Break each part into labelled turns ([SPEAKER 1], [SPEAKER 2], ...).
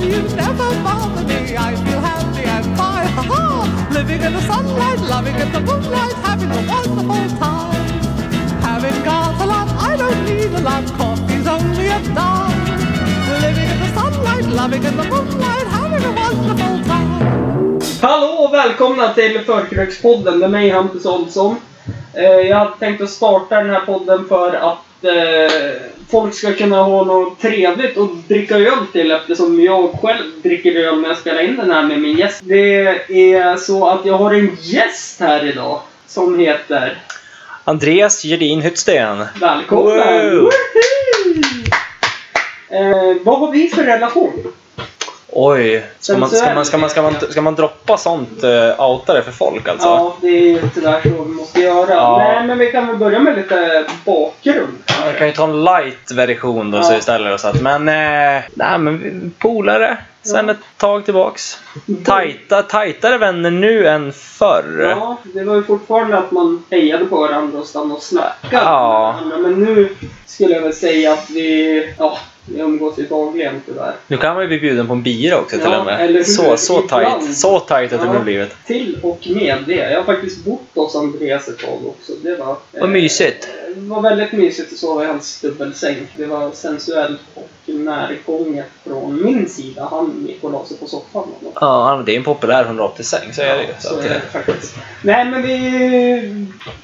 [SPEAKER 1] dreams never bother me. I feel happy and fine. Ha ha! Living in the sunlight, loving in the moonlight, having a wonderful time. Having got a lot, I don't need a lot. Coffee's only a dime. Living in the sunlight, loving in the moonlight, having a wonderful time.
[SPEAKER 2] Hallå och välkomna till Förkrökspodden med mig Hampus Olsson. Eh, Jag hade tänkt att starta den här podden för att eh, folk ska kunna ha något trevligt att dricka öl till eftersom jag själv dricker öl när jag spelar in den här med min gäst. Det är så att jag har en gäst här idag som heter...
[SPEAKER 3] Andreas Gedin Hyttsten.
[SPEAKER 2] Välkommen!
[SPEAKER 3] Wow.
[SPEAKER 2] Woho! Eh, vad har vi för relation?
[SPEAKER 3] Oj, ska man, ska,
[SPEAKER 2] Sensuell.
[SPEAKER 3] man, ska, man, ska, man, ska man droppa sånt uh, outare för folk alltså?
[SPEAKER 2] Ja, det är ju tyvärr så vi måste göra.
[SPEAKER 3] Ja.
[SPEAKER 2] Nej, men vi kan väl börja med lite bakgrund.
[SPEAKER 3] Jag kan ju ta en light version då så
[SPEAKER 2] Ja.
[SPEAKER 3] istället. Och så att, men, eh, nej men vi- polare sen
[SPEAKER 2] Ja.
[SPEAKER 3] ett tag tillbaks. Tajta, tajtare vänner nu än förr.
[SPEAKER 2] Ja, det var ju fortfarande att man hejade på varandra och stannade och snackade
[SPEAKER 3] Ja.
[SPEAKER 2] med varandra. Men nu skulle jag väl säga att vi, ja, vi umgås ju dagligen tyvärr.
[SPEAKER 3] Nu kan man ju bli bjuden på en bira också till
[SPEAKER 2] Ja,
[SPEAKER 3] och
[SPEAKER 2] eller hur?
[SPEAKER 3] med. Så, så
[SPEAKER 2] Ibland.
[SPEAKER 3] tajt, så tajt att det
[SPEAKER 2] Ja.
[SPEAKER 3] blev blivit.
[SPEAKER 2] Till och med det. Jag har faktiskt bott hos Andreas ett tag också. Det var... eh,
[SPEAKER 3] Vad mysigt.
[SPEAKER 2] Det var väldigt mysigt att sova i hans dubbelsäng. Det var sensuellt och närgånget från min sida. Han gick och la sig på soffan. Och
[SPEAKER 3] Ja, han- det är en populär 180-säng, så är det ju.
[SPEAKER 2] Så
[SPEAKER 3] Så
[SPEAKER 2] är
[SPEAKER 3] att,
[SPEAKER 2] det
[SPEAKER 3] eh,
[SPEAKER 2] faktiskt. Nej, men vi,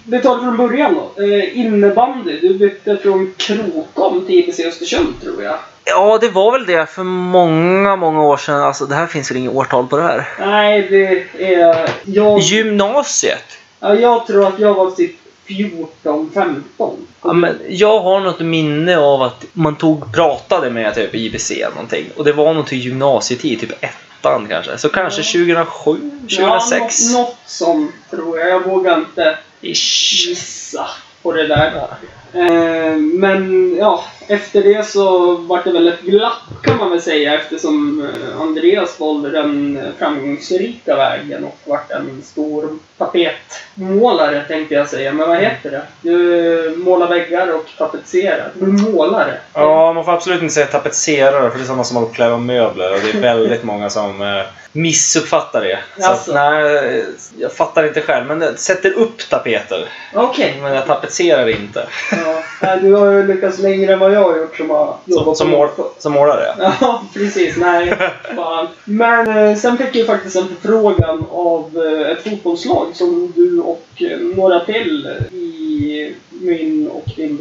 [SPEAKER 2] vi tar det från början då. Eh, innebandy. Du bytte från Krokom till IBC Östersund, tror jag.
[SPEAKER 3] Ja, det var väl det för många, många år sedan. Alltså, det här finns väl inget årtal på det här.
[SPEAKER 2] Nej, det är... Jag,
[SPEAKER 3] Gymnasiet?
[SPEAKER 2] ja, jag tror att jag var typ 14, 15.
[SPEAKER 3] Ja, men jag har något minne av att man tog, pratade med typ IBC eller någonting. Och det var nog till gymnasietid, typ ettan kanske. Så kanske 2007, 2006?
[SPEAKER 2] Ja, nå- något sånt tror jag. Jag vågar inte
[SPEAKER 3] Ish.
[SPEAKER 2] gissa på det där. Eh, men ja, efter det så var det väl ett glapp kan man väl säga eftersom eh, Andreas valde den eh, framgångsrika vägen och vart en stor tapetmålare tänkte jag säga. Men vad heter det? Du eh, målar väggar och tapetserar. Du är målare.
[SPEAKER 3] Ja, man får absolut inte säga tapetserare för det är samma som att uppkläda möbler och det är väldigt många som eh, missuppfattar det. Så att,
[SPEAKER 2] Jaså?
[SPEAKER 3] nej, jag fattar inte själv, men det sätter upp tapeter.
[SPEAKER 2] Okej.
[SPEAKER 3] Men jag tapetserar inte.
[SPEAKER 2] Ja, nej, du har ju lyckats längre än vad jag har gjort som har
[SPEAKER 3] Som,
[SPEAKER 2] jobbat
[SPEAKER 3] som,
[SPEAKER 2] på-
[SPEAKER 3] mål, som målare?
[SPEAKER 2] Ja, precis. Nej, fan. Men eh, sen fick jag faktiskt en förfrågan av eh, ett fotbollslag som du och eh, några till i min och din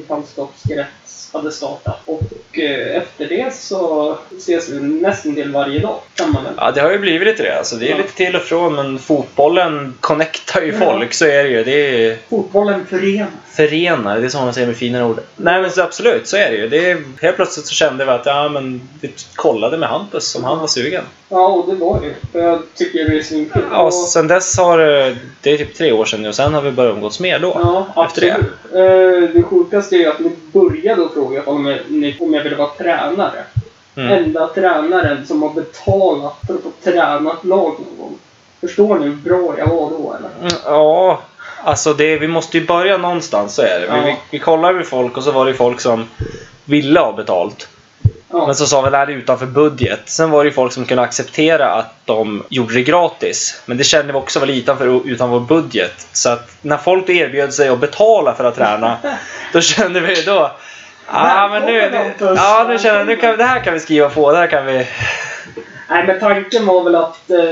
[SPEAKER 2] bekantskapskrets hade startat. Och eh, efter det så ses vi nästan till varje dag, kan man väl
[SPEAKER 3] Ja, det har ju blivit lite det. Alltså, det är
[SPEAKER 2] Ja.
[SPEAKER 3] lite till och från, men fotbollen connectar ju
[SPEAKER 2] Ja.
[SPEAKER 3] folk. Så är det ju. Det är
[SPEAKER 2] Fotbollen förenar.
[SPEAKER 3] förenar. Det är så man säger med finare ord. Nej, men så absolut, så är det ju. Det är, helt plötsligt så kände vi att ja, men vi kollade med Hampus om han var sugen.
[SPEAKER 2] Ja, och det var det. För jag tycker det är svinkul.
[SPEAKER 3] Ja, och sen dess har det- det är typ tre år sedan nu och sen har vi börjat umgås mer då.
[SPEAKER 2] Ja,
[SPEAKER 3] efter det.
[SPEAKER 2] absolut. Eh, Det, det sjukaste är ju att ni började och fråga om jag, om jag ville vara tränare.
[SPEAKER 3] Mm.
[SPEAKER 2] enda tränaren som har betalat för att få träna ett lag någon gång. Förstår ni hur bra jag var då eller?
[SPEAKER 3] Mm, Ja, alltså det, vi måste ju börja någonstans, så är det. Vi,
[SPEAKER 2] Ja.
[SPEAKER 3] vi, vi kollade med folk och så var det ju folk som ville ha betalt.
[SPEAKER 2] Ja.
[SPEAKER 3] Men så sa vi det här är utanför budget. Sen var det ju folk som kunde acceptera att de gjorde det gratis. Men det kände vi också var lite utanför, utanför vår budget. Så att när folk erbjöd sig att betala för att träna, då kände vi då... Ah, men nu,
[SPEAKER 2] Välkommen,
[SPEAKER 3] nu,
[SPEAKER 2] Hampus.
[SPEAKER 3] ja, nu känner jag, nu kan, det här kan vi skriva på. Det här kan vi...
[SPEAKER 2] Nej men tanken var väl att eh,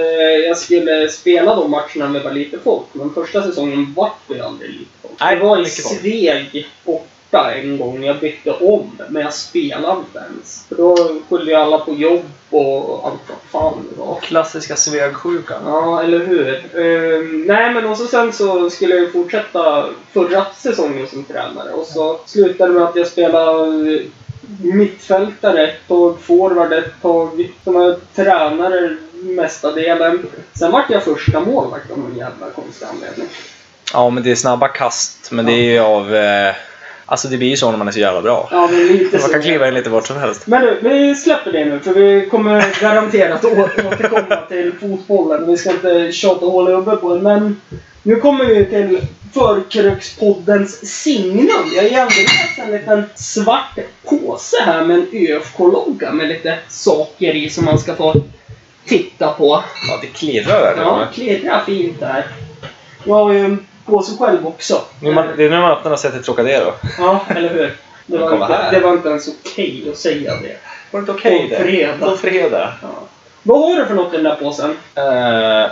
[SPEAKER 2] jag skulle spela de matcherna med bara lite folk. Men första säsongen vart det aldrig lite folk.
[SPEAKER 3] Nej,
[SPEAKER 2] det var en
[SPEAKER 3] mycket folk.
[SPEAKER 2] Sveg borta en gång. Jag bytte om men jag spelade inte ens. För då skyllde ju alla på jobb och allt vad fan det var.
[SPEAKER 3] Klassiska Svegsjukan.
[SPEAKER 2] Ja, eller hur. Ehm, nej, men och så sen så skulle jag ju fortsätta förra säsongen som tränare och så slutade det med att jag spelade mittfältare ett tag, forward ett tag, som var tränare mesta delen. Sen vart jag första målvakt av någon jävla konstig anledning.
[SPEAKER 3] Ja, men det är snabba kast. Men det är ju av... Eh, alltså det blir ju så när man är så jävla bra.
[SPEAKER 2] Ja, men lite
[SPEAKER 3] Man
[SPEAKER 2] så.
[SPEAKER 3] kan kliva in lite vart som helst.
[SPEAKER 2] Men du, vi släpper det nu för vi kommer garanterat å- återkomma till fotbollen. Vi ska inte tjata hål i huvudet på det. Men nu kommer vi till Förkrökspoddens signum. Jag har ju använt en liten svart påse här med en ÖFK-logga med lite saker i som man ska få titta på.
[SPEAKER 3] Ja, det klirrar där.
[SPEAKER 2] Ja,
[SPEAKER 3] Ja.
[SPEAKER 2] klirrar fint där. Jag har ju en påse själv också.
[SPEAKER 3] Nu man, det är nu man öppnar och sätter Trocadero.
[SPEAKER 2] Ja, eller hur? Det var,
[SPEAKER 3] Kolla
[SPEAKER 2] inte,
[SPEAKER 3] här.
[SPEAKER 2] det var inte ens okej att säga det.
[SPEAKER 3] Var det inte okej
[SPEAKER 2] På
[SPEAKER 3] det?
[SPEAKER 2] fredag.
[SPEAKER 3] På fredag.
[SPEAKER 2] Ja. Vad har du för något i den där påsen?
[SPEAKER 3] Uh,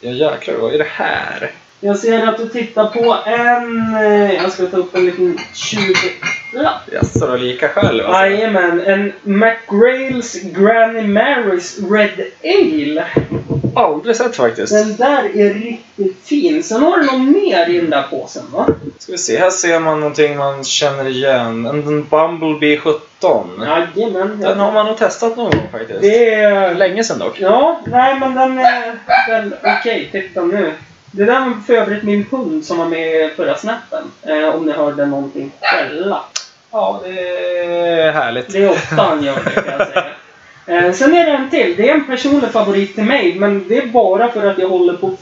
[SPEAKER 3] ja jäklar, vad är det här?
[SPEAKER 2] Jag ser att du tittar på en... eh, Jag ska ta upp en liten 20... Ja.
[SPEAKER 3] Jaså, du har lika själv alltså.
[SPEAKER 2] Jajamän, en McGrails Granny Marys Red Ale.
[SPEAKER 3] Aldrig sett faktiskt.
[SPEAKER 2] Den där är riktigt fin. Sen har du något mer i den där påsen va?
[SPEAKER 3] Ska vi se, här ser man någonting man känner igen. En en Bumblebee 17.
[SPEAKER 2] Jajamän.
[SPEAKER 3] Mm. Den har man nog testat någon gång faktiskt.
[SPEAKER 2] Det är...
[SPEAKER 3] länge sedan dock.
[SPEAKER 2] Ja, nej men den är väl okej. titta nu. Det där var för övrigt min hund som var med i förra snappen. Eh, om ni hörde någonting skälla.
[SPEAKER 3] Ja, det är härligt.
[SPEAKER 2] Det är ofta han gör det kan jag säga. Eh, sen är det en till. Det är en personlig favorit till mig, men det är bara för att jag håller på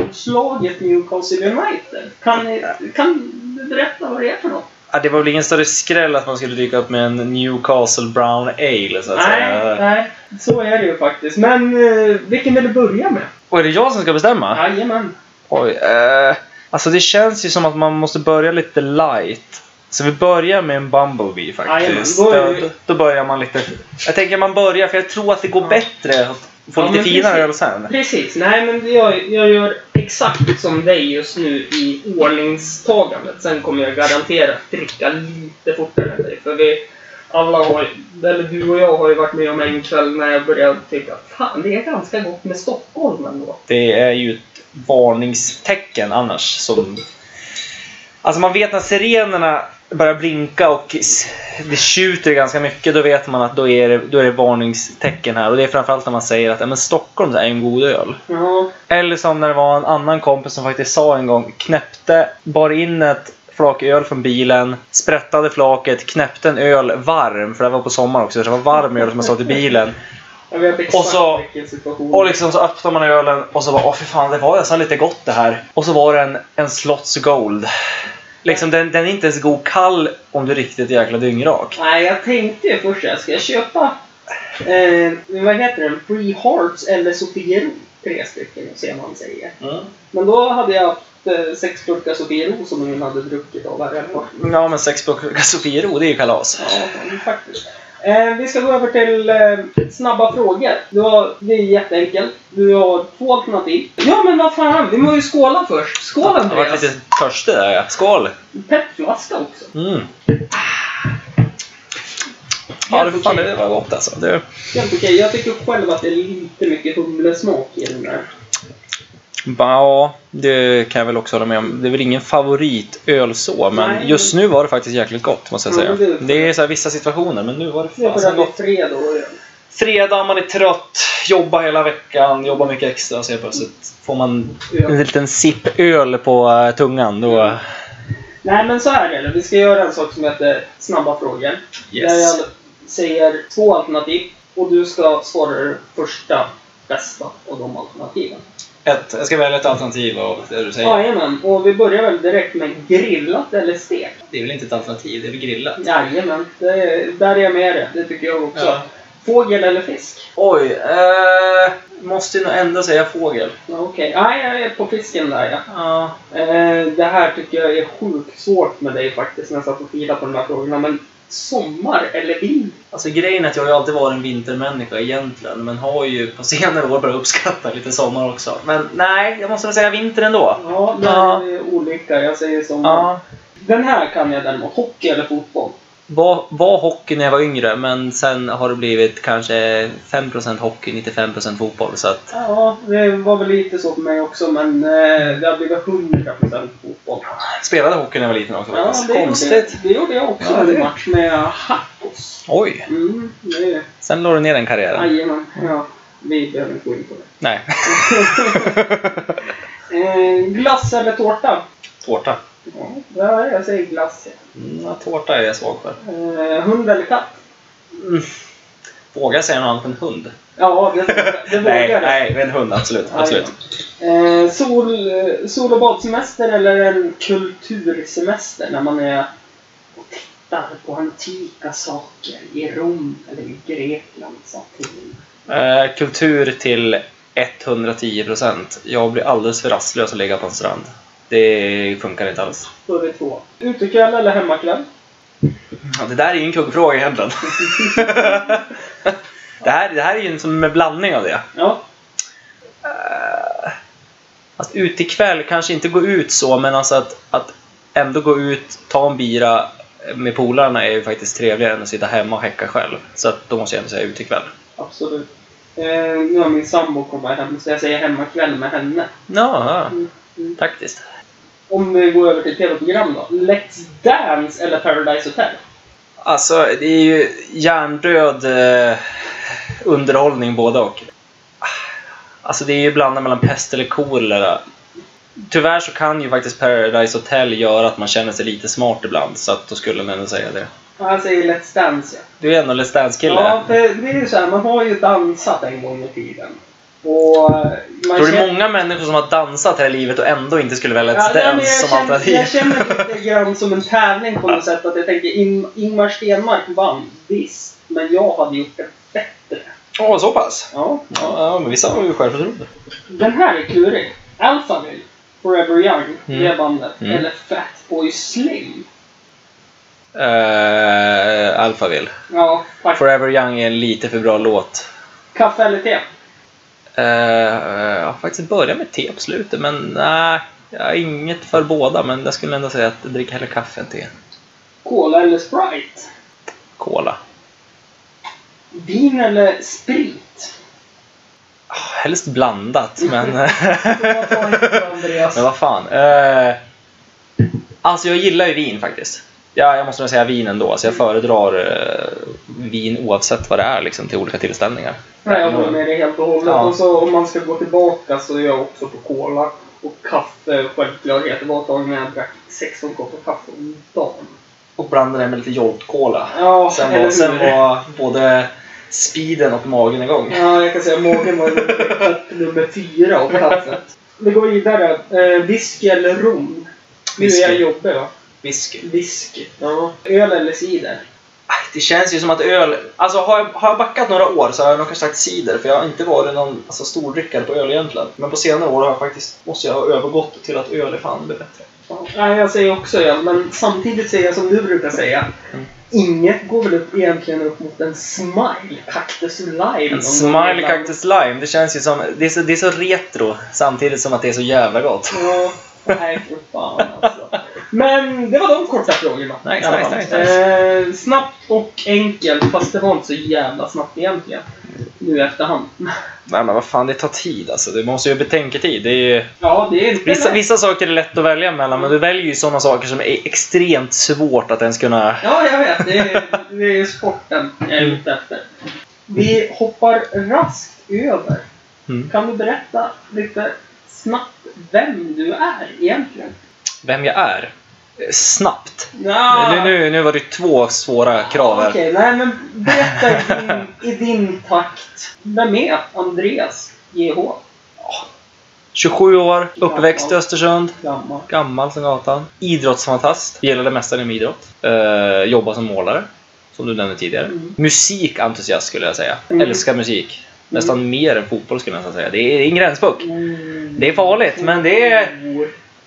[SPEAKER 2] fotbollslaget Newcastle United. Kan, ni, kan du berätta vad det är för något?
[SPEAKER 3] Ja, det var väl ingen större skräll att man skulle dyka upp med en Newcastle Brown Ale så att
[SPEAKER 2] Nej,
[SPEAKER 3] säga.
[SPEAKER 2] nej, så är det ju faktiskt. Men eh, vilken vill du börja med?
[SPEAKER 3] Och är det jag som ska bestämma?
[SPEAKER 2] Jajamän.
[SPEAKER 3] Oj, eh, alltså det känns ju som att man måste börja lite light. Så vi börjar med en Bumblebee faktiskt.
[SPEAKER 2] Jajamän, då är det-
[SPEAKER 3] då, då börjar man lite... Jag tänker man börjar för jag tror att det går
[SPEAKER 2] Ja.
[SPEAKER 3] bättre att få
[SPEAKER 2] Ja, men
[SPEAKER 3] lite finare
[SPEAKER 2] precis.
[SPEAKER 3] öl sen.
[SPEAKER 2] Precis. Nej, men jag, jag gör exakt som dig just nu i ordningstagandet. Sen kommer jag garanterat dricka lite fortare än dig. För vi alla har ju- eller du och jag har ju varit med om en kväll när jag började tycka fan det är ganska gott med Stockholm ändå.
[SPEAKER 3] Det är ju ett varningstecken annars som... Alltså man vet när sirenerna börjar blinka och s- det tjuter ganska mycket, då vet man att då är det, då är det varningstecken här. Och det är framförallt när man säger att ja, men Stockholm är en god öl.
[SPEAKER 2] Ja.
[SPEAKER 3] Eller som när det var en annan kompis som faktiskt sa en gång, knäppte, bar in ett flak öl från bilen, sprättade flaket, knäppte en öl varm, för det var på sommaren också, så det var varm öl som hade stått i bilen.
[SPEAKER 2] Jag vet exakt
[SPEAKER 3] Och så-
[SPEAKER 2] vilken situation.
[SPEAKER 3] Och liksom så öppnar man ölen och så bara, åh för fan, det var nästan lite gott det här. Och så var det en, en Slots Gold. Liksom den, den är inte ens god kall om du är riktigt jäkla dyngrak.
[SPEAKER 2] Nej, jag tänkte ju först jag ska köpa eh, vad heter den? Free Hearts eller Sofiero. Tre stycken och se vad han säger.
[SPEAKER 3] Mm.
[SPEAKER 2] Men då hade jag haft eh, sex burkar Sofiero som ingen hade druckit av varje år.
[SPEAKER 3] Ja men sex burkar Sofiero, det är ju kalas.
[SPEAKER 2] Ja, faktiskt. Eh, vi ska gå över till eh, snabba frågor. Du har, det är jätteenkelt. Du har två alternativ. Ja, men vad fan, vi måste ju skåla först. Skål
[SPEAKER 3] Jag varit
[SPEAKER 2] Andreas!
[SPEAKER 3] lite törstig där ja. Skål!
[SPEAKER 2] Petflaska också.
[SPEAKER 3] Mm. Ja, det, fan, det var gott alltså. Det,
[SPEAKER 2] Helt okej. Jag tycker själv att det är lite mycket humlesmak i den där.
[SPEAKER 3] Ba- ja, det kan jag väl också hålla med om. Det är väl ingen favoritöl så, men
[SPEAKER 2] Nej.
[SPEAKER 3] just nu var det faktiskt jäkligt gott måste jag
[SPEAKER 2] Ja,
[SPEAKER 3] säga.
[SPEAKER 2] men det-
[SPEAKER 3] det... är så här vissa situationer, men nu var det
[SPEAKER 2] Det är för
[SPEAKER 3] fasen
[SPEAKER 2] att det är
[SPEAKER 3] gott.
[SPEAKER 2] fredag och
[SPEAKER 3] Fredag, man är trött, jobbar hela veckan, jobbar mycket extra, så helt plötsligt får man en liten sipp öl på eh, tungan. Då, eh,
[SPEAKER 2] Nej, men så här är det. Vi ska göra en sak som heter snabba frågor. Där
[SPEAKER 3] yes.
[SPEAKER 2] jag säger två alternativ och du ska svara det första bästa av de alternativen.
[SPEAKER 3] Ett, jag ska välja ett alternativ av det du säger.
[SPEAKER 2] Jajamän, och vi börjar väl direkt med grillat eller stekt?
[SPEAKER 3] Det är väl inte ett alternativ, det är väl grillat?
[SPEAKER 2] Jajamän, det, där är jag med dig. Det tycker jag också.
[SPEAKER 3] Ja.
[SPEAKER 2] Fågel eller fisk?
[SPEAKER 3] Oj, eh, måste ju nog ändå säga fågel.
[SPEAKER 2] Ja, Okej, nej jag är på fisken där ja.
[SPEAKER 3] Ja.
[SPEAKER 2] Eh, det här tycker jag är sjukt svårt med dig faktiskt när jag satt och filade på de här frågorna. Men sommar eller vinter?
[SPEAKER 3] Alltså grejen är att jag har ju alltid varit en vintermänniska egentligen, men har ju på senare år börjat uppskatta lite sommar också. Men nej, jag måste väl säga vinter ändå.
[SPEAKER 2] Ja, det
[SPEAKER 3] Ja.
[SPEAKER 2] är olika. Jag säger sommar.
[SPEAKER 3] Ja.
[SPEAKER 2] Den här kan jag däremot. Hockey eller fotboll?
[SPEAKER 3] Var, var hockey när jag var yngre, men sen har det blivit kanske 5% hockey, 95% fotboll. Så att,
[SPEAKER 2] Ja, det var väl lite så för mig också, men eh, det har blivit 100% fotboll.
[SPEAKER 3] spelade hockey när jag var liten också
[SPEAKER 2] Ja,
[SPEAKER 3] faktiskt.
[SPEAKER 2] det Gjorde,
[SPEAKER 3] Konstigt.
[SPEAKER 2] det gjorde jag också
[SPEAKER 3] Ja,
[SPEAKER 2] en
[SPEAKER 3] det-
[SPEAKER 2] match med Hackos.
[SPEAKER 3] Oj,
[SPEAKER 2] Mm, det-
[SPEAKER 3] sen la du ner den karriären.
[SPEAKER 2] Jajamän. Ja, vi behöver inte gå in på det.
[SPEAKER 3] Nej.
[SPEAKER 2] Eh, glass eller tårta?
[SPEAKER 3] tårta.
[SPEAKER 2] Ja, det här, jag säger glass.
[SPEAKER 3] Mm, ja, tårta är jag svag för.
[SPEAKER 2] Eh, hund eller katt?
[SPEAKER 3] Mm. Vågar jag säga något annat än hund?
[SPEAKER 2] Ja, det, det vågar
[SPEAKER 3] Nej,
[SPEAKER 2] jag.
[SPEAKER 3] nej, en hund absolut. absolut.
[SPEAKER 2] Eh, sol, eh, sol och badsemester eller en kultursemester när man är och tittar på antika saker i Rom eller i Grekland, Saturn.
[SPEAKER 3] Eh, kultur till 110%. Jag blir alldeles för rastlös att ligga på en strand. Det funkar inte alls.
[SPEAKER 2] Då är det två. Utekväll eller hemmakväll?
[SPEAKER 3] Ja, det där är ju en kuggfråga egentligen. det, här, det här är ju en som en blandning av det.
[SPEAKER 2] Ja.
[SPEAKER 3] Att utekväll, kanske inte gå ut så, men alltså att, att ändå gå ut, ta en bira med polarna är ju faktiskt trevligare än att sitta hemma och häcka själv. Så att då måste jag ändå säga utekväll.
[SPEAKER 2] Absolut. Eh, nu har min sambo kommit hem, så jag säger hemmakväll med henne.
[SPEAKER 3] Ja, ja.
[SPEAKER 2] Mm, mm.
[SPEAKER 3] taktiskt.
[SPEAKER 2] Om vi går över till tv-program då. Let's Dance eller Paradise Hotel?
[SPEAKER 3] Alltså, det är ju hjärndöd eh, underhållning båda och. Alltså, det är ju blandat mellan pest eller kolera. Tyvärr så kan ju faktiskt Paradise Hotel göra att man känner sig lite smart ibland, så att då skulle man ändå säga det.
[SPEAKER 2] Ja, Jag säger Let's Dance, ja.
[SPEAKER 3] Du är ändå en Let's Dance-kille.
[SPEAKER 2] Ja, det, det är ju så här, man har ju dansat en gång i tiden. Och eh, man
[SPEAKER 3] Tror du det är många människor som har dansat här i livet och ändå inte skulle välja
[SPEAKER 2] Ja,
[SPEAKER 3] Let's
[SPEAKER 2] nej, men
[SPEAKER 3] Dance
[SPEAKER 2] jag,
[SPEAKER 3] som
[SPEAKER 2] känner,
[SPEAKER 3] alternativ?
[SPEAKER 2] jag känner lite grann som en tävling på något sätt. Att jag tänker, In, Ingmar Stenmark vann, visst. Men jag hade gjort det bättre.
[SPEAKER 3] Åh, så pass?
[SPEAKER 2] Ja.
[SPEAKER 3] Ja, ja, men vissa har ju självförtroende.
[SPEAKER 2] Den här är klurig. Alphaville, Forever Young, det bandet.
[SPEAKER 3] Mm.
[SPEAKER 2] Eller Fatboy Slim.
[SPEAKER 3] Uh, Alphaville.
[SPEAKER 2] Ja, tack.
[SPEAKER 3] Forever Young är en lite för bra låt.
[SPEAKER 2] Kaffe eller te?
[SPEAKER 3] Eh, eh, jag har faktiskt börjat med te på slutet, men nej. Jag har inget för båda, men jag skulle ändå säga att jag dricker hellre kaffe än te.
[SPEAKER 2] Cola eller Sprite?
[SPEAKER 3] Cola.
[SPEAKER 2] Vin eller sprit?
[SPEAKER 3] Ah, Helst blandat, men... eh,
[SPEAKER 2] Jag tar inte Andreas.
[SPEAKER 3] men vad fan. Eh, alltså, jag gillar ju vin faktiskt. Ja, jag måste nog säga vin ändå. Alltså, jag föredrar eh, vin oavsett vad det är liksom, till olika tillställningar.
[SPEAKER 2] Nej, jag håller med dig helt och hållet.
[SPEAKER 3] Ja.
[SPEAKER 2] Och så om man ska gå tillbaka så är jag också på cola. Och kaffe, självklarhet. Det var ett tag när jag drack 16 koppar kaffe om dagen.
[SPEAKER 3] Och blandade det med lite joltkola.
[SPEAKER 2] Ja,
[SPEAKER 3] Sen
[SPEAKER 2] eller
[SPEAKER 3] var,
[SPEAKER 2] hur?
[SPEAKER 3] sen var både speeden och magen igång.
[SPEAKER 2] Ja, jag kan säga magen var kopp nummer fyra av kaffet. Vi går vidare. Eh, whisky eller rom? Nu är
[SPEAKER 3] Whisky.
[SPEAKER 2] jag jobbig va?
[SPEAKER 3] Whisky.
[SPEAKER 2] Whisky. Ja. Öl eller cider?
[SPEAKER 3] Aj, Det känns ju som att öl... Alltså har jag, har jag backat några år så har jag nog kanske sagt cider för jag har inte varit någon alltså, stordrickare på öl egentligen. Men på senare år har jag faktiskt, måste jag ha övergått till att öl är fan det bättre.
[SPEAKER 2] Ja, Nej, jag säger också öl, men samtidigt säger jag som du brukar säga.
[SPEAKER 3] Mm.
[SPEAKER 2] Inget går väl upp, egentligen upp mot en smile, Cactus Lime.
[SPEAKER 3] En Smile Cactus Lime, det känns ju som... Det är, så, det är så retro samtidigt som att det är så jävla gott.
[SPEAKER 2] Ja, nej för fan alltså. Men det var de korta frågorna.
[SPEAKER 3] Nice,
[SPEAKER 2] I alla
[SPEAKER 3] nice,
[SPEAKER 2] fall.
[SPEAKER 3] nice, nice.
[SPEAKER 2] Eh, snabbt och enkelt, fast det var inte så jävla snabbt egentligen. Nu i efterhand.
[SPEAKER 3] Nej men vad fan, det tar tid alltså. Du måste ju ha betänketid. Det är ju...
[SPEAKER 2] Ja, det är inte
[SPEAKER 3] Vissa,
[SPEAKER 2] lätt.
[SPEAKER 3] vissa saker är lätt att välja mellan men du väljer ju sådana saker som är extremt svårt att ens kunna...
[SPEAKER 2] Ja, jag vet. Det är, det är ju sporten jag är ute efter. Vi hoppar raskt över.
[SPEAKER 3] Mm.
[SPEAKER 2] Kan du berätta lite snabbt vem du är egentligen?
[SPEAKER 3] Vem jag är? Eh, Snabbt.
[SPEAKER 2] Ja.
[SPEAKER 3] Nu, nu, nu var det två svåra krav här.
[SPEAKER 2] Okej, nej men berätta i din, i din takt. Vem är Andreas JH?
[SPEAKER 3] 27 år, uppväxt i
[SPEAKER 2] Ja.
[SPEAKER 3] Östersund.
[SPEAKER 2] Gammal.
[SPEAKER 3] Gammal som gatan. Idrottsfantast. Gillar det mesta inom idrott. Eh, jobbar som målare. Som du nämnde tidigare.
[SPEAKER 2] Mm.
[SPEAKER 3] Musikentusiast skulle jag säga.
[SPEAKER 2] Mm.
[SPEAKER 3] Älskar musik. Nästan mer än fotboll skulle jag nästan säga. Det är, det är en gränspuck.
[SPEAKER 2] Mm.
[SPEAKER 3] Det är farligt, men det är...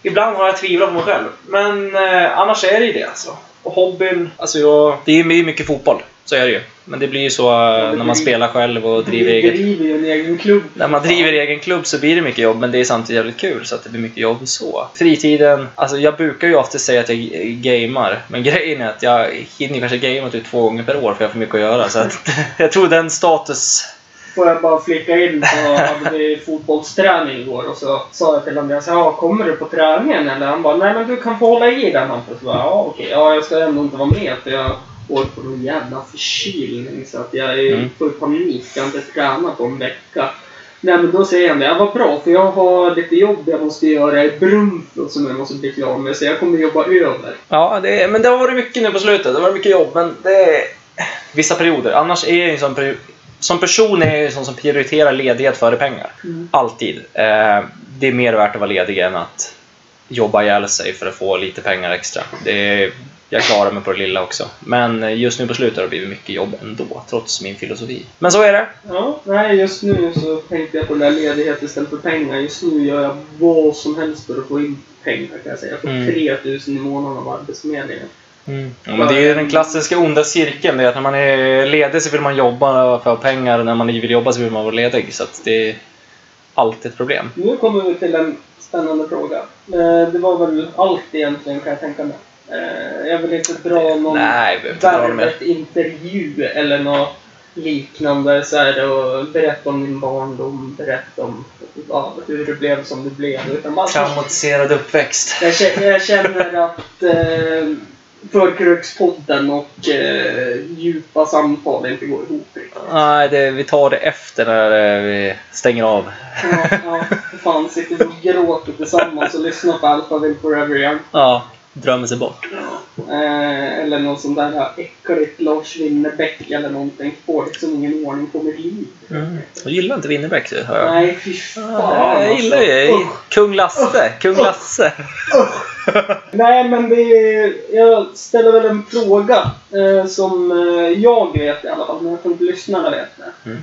[SPEAKER 3] Ibland har jag tvivlat på mig själv. Men eh, annars är det ju det alltså. Och hobbyn, alltså jag... Det är ju my- mycket fotboll. Så är det ju. Men det blir ju så eh,
[SPEAKER 2] det
[SPEAKER 3] när man
[SPEAKER 2] blir-
[SPEAKER 3] spelar själv och
[SPEAKER 2] Du
[SPEAKER 3] driver eget.
[SPEAKER 2] driver ju en egen klubb.
[SPEAKER 3] När man driver egen klubb så blir det mycket jobb, men det är samtidigt jävligt kul så att det blir mycket jobb så. Fritiden, alltså jag brukar ju ofta säga att jag eh, gamar, men grejen är att jag hinner ju kanske gamea typ två gånger per år för jag har för mycket att göra. Så att, jag tror den status...
[SPEAKER 2] Får jag bara flika in så hade vi fotbollsträning igår och så sa jag till Andreas, ja kommer du på träningen eller? Han bara, nej men du kan få hålla i den Hampus. Så bara, Ja okej, ja jag ska ändå inte vara med för jag går på någon jävla förkylning så att jag är
[SPEAKER 3] Mm.
[SPEAKER 2] full panik, jag kan inte träna på en vecka. Nej men då säger han det, ja vad bra för jag har lite jobb jag måste göra i Brunflo som jag måste bli klar med så jag kommer jobba över.
[SPEAKER 3] Ja, det, men det har varit mycket nu på slutet. Det har varit mycket jobb, men det är vissa perioder. Annars är jag ju en sån peri- som person är jag ju sån som prioriterar ledighet före pengar.
[SPEAKER 2] Mm.
[SPEAKER 3] Alltid. Eh, det är mer värt att vara ledig än att jobba ihjäl sig för att få lite pengar extra. Det är, jag klarar mig på det lilla också. Men just nu på slutet har det blivit mycket jobb ändå, trots min filosofi. Men så är det.
[SPEAKER 2] Ja, nej, just nu så tänkte jag på det där ledighet istället för pengar. Just nu gör jag vad som helst för att få in pengar kan jag säga. Jag får
[SPEAKER 3] Mm.
[SPEAKER 2] 3000 i månaden av Arbetsförmedlingen.
[SPEAKER 3] Ja, men det är ju den klassiska onda cirkeln. Det är att när man är ledig så vill man jobba för pengar och när man vill jobba så vill man vara ledig. Så att det är alltid ett problem.
[SPEAKER 2] Nu kommer vi till en spännande fråga. Eh, Det var väl allt egentligen kan jag tänka mig. Eh, Jag vill inte dra någon
[SPEAKER 3] Nej, vi behöver inte dra det mer.
[SPEAKER 2] Värvet-intervju eller något liknande så här, och berätta om din barndom, berätta om ja, hur det blev som det blev. Utan bara,
[SPEAKER 3] Traumatiserad uppväxt.
[SPEAKER 2] jag, känner, jag känner att eh, Förkrökspodden och eh, djupa samtal inte går ihop riktigt.
[SPEAKER 3] Nej, det, vi tar det efter när eh, vi stänger av.
[SPEAKER 2] Ja, ja, för fan, sitter vi och gråter tillsammans och lyssnar på Alpha Will Forever Young.
[SPEAKER 3] Ja, drömmer sig bort.
[SPEAKER 2] Eh, eller någon sån där här äckligt Lars Winnerbäck eller någonting. Får liksom ingen ordning på mitt liv.
[SPEAKER 3] Jag gillar inte Winnerbäck du, hör jag.
[SPEAKER 2] Nej, fy fan alltså.
[SPEAKER 3] Ja, jag gillar ju
[SPEAKER 2] Usch.
[SPEAKER 3] Kung Lasse. Kung Lasse.
[SPEAKER 2] Nej, men det är, Jag ställer väl en fråga eh, som eh, jag vet i alla fall, men jag tror inte lyssnarna vet det.
[SPEAKER 3] Mm.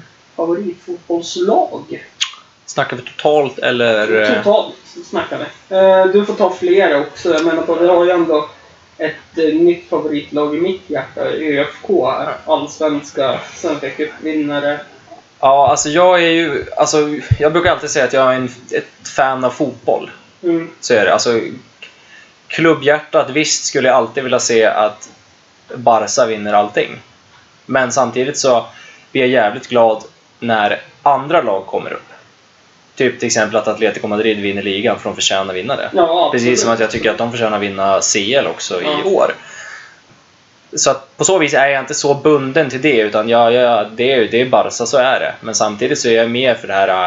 [SPEAKER 2] Favoritfotbollslag?
[SPEAKER 3] Snackar vi totalt eller? eh,
[SPEAKER 2] Totalt snackar vi. Eh, du får ta flera också. Jag menar, på, vi har ju ändå ett eh, nytt favoritlag i mitt hjärta. ÖFK, allsvenska, svenska cupvinnare.
[SPEAKER 3] Ja, alltså jag är ju... Alltså, jag brukar alltid säga att jag är en, ett fan av fotboll.
[SPEAKER 2] Mm.
[SPEAKER 3] Så är det. Alltså, klubbhjärtat, visst skulle jag alltid vilja se att Barca vinner allting. Men samtidigt så blir jag jävligt glad när andra lag kommer upp. Typ till exempel att Atletico Madrid vinner ligan för de förtjänar att vinna det.
[SPEAKER 2] Ja, absolut.
[SPEAKER 3] Precis som att jag tycker att de förtjänar att vinna CL också
[SPEAKER 2] Ja.
[SPEAKER 3] i år. Så att på så vis är jag inte så bunden till det, utan jag, jag, det, är, det är Barca, så är det. Men samtidigt så är jag mer för det här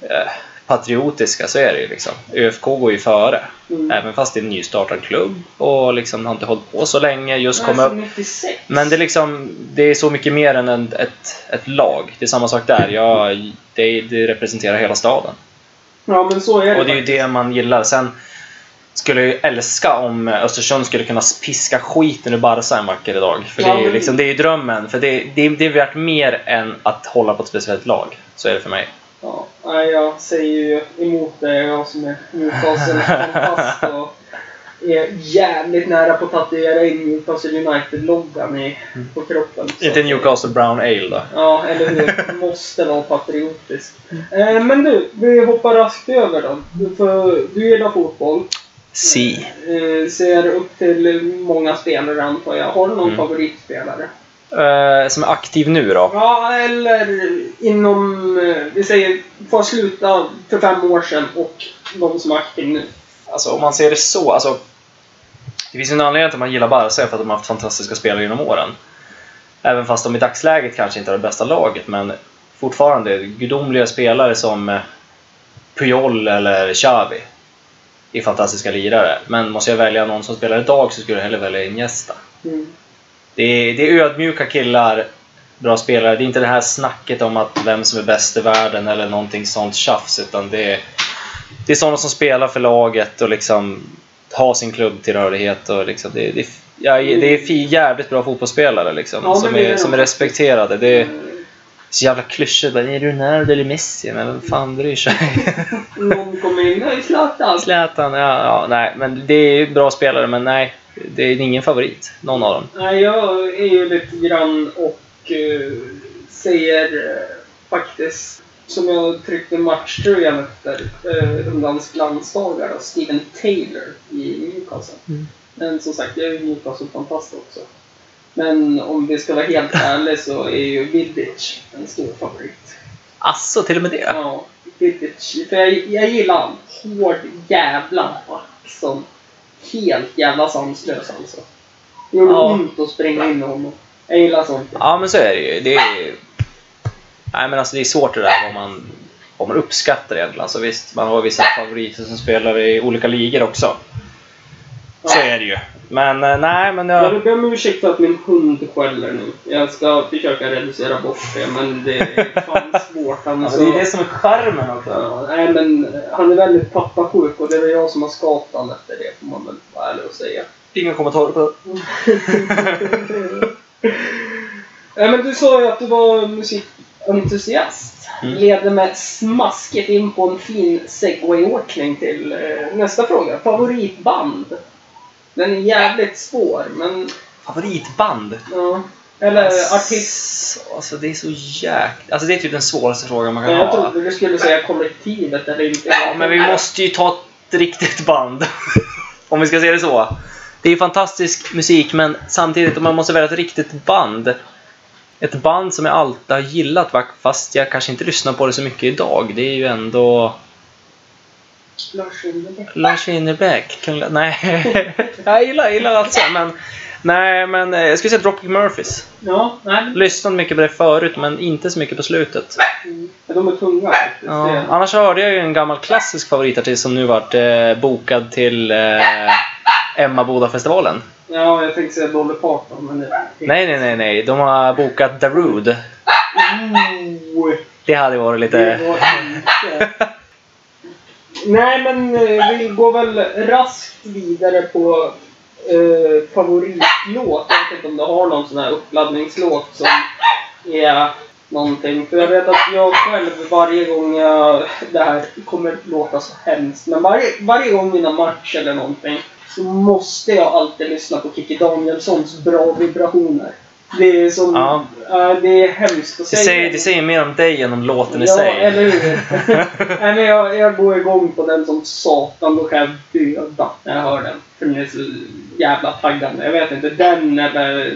[SPEAKER 3] eh, patriotiska, så är det ju liksom. ÖFK går ju före.
[SPEAKER 2] Mm.
[SPEAKER 3] Även fast det är en nystartad klubb och liksom har inte hållit på så länge, just
[SPEAKER 2] Nej,
[SPEAKER 3] kom upp.
[SPEAKER 2] så 96.
[SPEAKER 3] Men det är, liksom, det är så mycket mer än en, ett, ett lag. Det är samma sak där. Jag, det, det representerar hela staden.
[SPEAKER 2] Ja, men så är det.
[SPEAKER 3] Och det är ju det man gillar. Sen skulle jag ju älska om Östersund skulle kunna piska skiten ur Barca en vacker dag. För det är ju, liksom, det är ju drömmen. För det, det, det är värt mer än att hålla på ett speciellt lag. Så är det för mig.
[SPEAKER 2] Ja, nej, jag säger ju emot det. Jag som är Newcastle-fantast och är jävligt nära på att tatuera in Newcastle United-loggan i- på kroppen. Så-
[SPEAKER 3] Inte Newcastle Brown Ale då.
[SPEAKER 2] Ja, eller hur? Måste vara patriotisk. Eh, men du, vi hoppar raskt över då. Du, för, du gillar fotboll.
[SPEAKER 3] Si.
[SPEAKER 2] Eh, ser upp till många spelare antar jag. Har du någon
[SPEAKER 3] Mm.
[SPEAKER 2] favoritspelare?
[SPEAKER 3] Eh, som är aktiv nu då.
[SPEAKER 2] Ja, eller inom, eh, vi säger, får sluta för fem år sedan och de som är aktiva nu.
[SPEAKER 3] Alltså om man ser det så. Alltså, det finns ju en anledning till att man gillar Barca. För att de har haft fantastiska spelare genom åren. Även fast de i dagsläget kanske inte är det bästa laget. Men fortfarande gudomliga spelare som eh, Puyol eller Xavi. Är fantastiska lirare. Men måste jag välja någon som spelar idag så skulle jag hellre välja Iniesta.
[SPEAKER 2] Mm.
[SPEAKER 3] Det är, det är ödmjuka killar, bra spelare. Det är inte det här snacket om att vem som är bäst i världen eller någonting sånt tjafs. Utan det är, det är sådana som spelar för laget och liksom har sin klubbtillhörighet. Och liksom det, det, ja, det är fi- jävligt bra fotbollsspelare liksom,
[SPEAKER 2] Ja, men
[SPEAKER 3] som,
[SPEAKER 2] det är
[SPEAKER 3] är,
[SPEAKER 2] de
[SPEAKER 3] som är
[SPEAKER 2] faktiskt.
[SPEAKER 3] respekterade. Det är
[SPEAKER 2] Eh,
[SPEAKER 3] så jävla klyschigt. Bara, Är du Ronaldo eller Messi? Men vem fan bryr sig?
[SPEAKER 2] Någon kommer in, nej Zlatan!
[SPEAKER 3] Zlatan, ja, ja, nej. Men det är bra spelare, men nej. Det är ingen favorit, någon av dem.
[SPEAKER 2] Nej, jag är ju lite grann och eh, säger eh, faktiskt, som jag tryckte matchtröjan efter, uh, Rundans glansdagar, och Steven Taylor i Newcastle.
[SPEAKER 3] Mm.
[SPEAKER 2] Men som sagt, jag är ju Newcastle-fantast också. Men om vi ska vara helt ärliga så är ju Vidic en stor favorit.
[SPEAKER 3] Asså, till och med det?
[SPEAKER 2] Ja, Vidic. För jag, jag gillar han. Hård jävla back som helt jävla sanslös alltså. Det gjorde
[SPEAKER 3] Ja.
[SPEAKER 2] ont att springa in i honom. Jag gillar sånt.
[SPEAKER 3] Ja, men så är det ju. Det är, nej, men alltså, det är svårt det där vad man, vad man uppskattar egentligen. Alltså, visst, man har vissa favoriter som spelar i olika ligor också. Så är det ju. Men eh, nej, men
[SPEAKER 2] Jag
[SPEAKER 3] jag...
[SPEAKER 2] vill be om ursäkt för att min hund skäller nu. Jag ska försöka reducera bort det, men det är fan svårt. Han är så...
[SPEAKER 3] som Alltså, är skärmen också.
[SPEAKER 2] Ja, nej, men han är väldigt pappasjuk och det är väl jag som har skapat honom efter det, får man väl vara ärlig och säga.
[SPEAKER 3] Inga kommentarer på det.
[SPEAKER 2] Nej, men du sa ju att du var musikentusiast.
[SPEAKER 3] Mm.
[SPEAKER 2] Leder med smasket in på en fin segwayåkning till eh, nästa fråga. Favoritband? Den är jävligt svår, men...
[SPEAKER 3] Favoritband?
[SPEAKER 2] Ja. Eller artist.
[SPEAKER 3] Eh, Artist. Alltså det är så jäkla... Alltså det är typ den svåraste frågan man kan
[SPEAKER 2] Jag
[SPEAKER 3] ha.
[SPEAKER 2] trodde du skulle säga kollektivet eller inte.
[SPEAKER 3] Ja, men vi måste ju ta ett riktigt band. om vi ska se det så. Det är ju fantastisk musik, men samtidigt om man måste välja ett riktigt band. Ett band som jag alltid har gillat, va, fast jag kanske inte lyssnar på det så mycket idag. Det är ju ändå
[SPEAKER 2] Lars Winnerbäck.
[SPEAKER 3] Lars Winnerbäck. Kungla- Nej, jag gillar, gillar alltså, men... Nej, men eh, jag skulle säga Dropkick Murphys.
[SPEAKER 2] Ja, nej. men-
[SPEAKER 3] Lyssnat mycket på det förut, men inte så mycket på slutet.
[SPEAKER 2] Mm. De är tunga faktiskt.
[SPEAKER 3] Ja,
[SPEAKER 2] Det-
[SPEAKER 3] annars hörde jag ju en gammal klassisk favoritartist som nu vart eh, bokad till eh, Emmaboda-festivalen.
[SPEAKER 2] Ja, jag tänkte säga Dolly Parton, men... Det...
[SPEAKER 3] Nej, nej, nej, nej. De har bokat Darude.
[SPEAKER 2] Oh.
[SPEAKER 3] Det hade varit
[SPEAKER 2] Det
[SPEAKER 3] lite...
[SPEAKER 2] var inte. Nej, men eh, vi går väl raskt vidare på eh, favoritlåt. Jag vet inte om du har någon sån här uppladdningslåt som är någonting. För jag vet att jag själv varje gång jag... Det här kommer låta så hemskt, men varje, varje gång innan match eller någonting så måste jag alltid lyssna på Kikki Danielssons Bra vibrationer. Det är som...
[SPEAKER 3] Ja.
[SPEAKER 2] eh, det är hemskt att
[SPEAKER 3] Det
[SPEAKER 2] säga.
[SPEAKER 3] säger, det säger mer om dig än om låten i
[SPEAKER 2] ja,
[SPEAKER 3] sig.
[SPEAKER 2] eller hur? Nej, men jag, jag går igång på den som satan. Då kan jag döda när jag hör den. För den är så jävla taggande. Jag vet inte, den eller...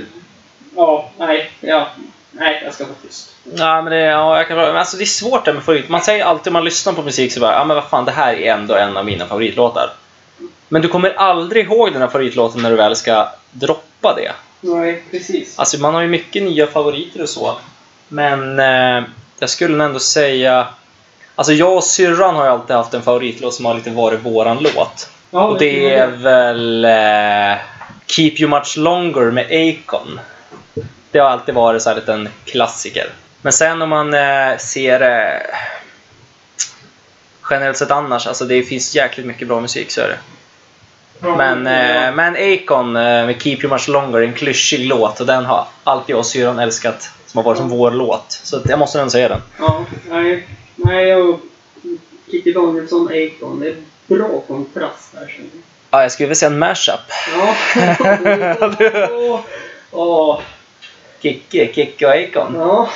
[SPEAKER 2] Ja, nej. Ja, nej, jag ska vara tyst.
[SPEAKER 3] Ja, men det, ja, jag kan, men alltså, det är svårt det här med favorit. Man säger alltid om man lyssnar på musik så bara ja, men vad fan, det här är ändå en av mina favoritlåtar. Men du kommer aldrig ihåg den här favoritlåten när du väl ska droppa det.
[SPEAKER 2] Nej, precis.
[SPEAKER 3] Alltså man har ju mycket nya favoriter och så. Men eh, jag skulle nog ändå säga... Alltså jag och syrran har ju alltid haft en favoritlåt som har lite varit våran låt.
[SPEAKER 2] Ja,
[SPEAKER 3] och det är väl eh, Keep You Much Longer med Akon. Det har alltid varit så här lite en klassiker. Men sen om man eh, ser eh, generellt sett annars, alltså det finns jäkligt mycket bra musik så är det. Men, eh, men Akon eh, med Keep You Much Longer är en klyschig låt och den har alltid jag och syrran älskat som har varit som vår låt. Så att jag måste ändå säga den.
[SPEAKER 2] Ja, nej. Nej, och Kikki Danielsson, Akon. Det är bra kontrast där, känner jag.
[SPEAKER 3] Ja, jag skulle vilja säga en mashup.
[SPEAKER 2] Ja. Åh, åh.
[SPEAKER 3] Kikki, Kikki och Akon.
[SPEAKER 2] Ja.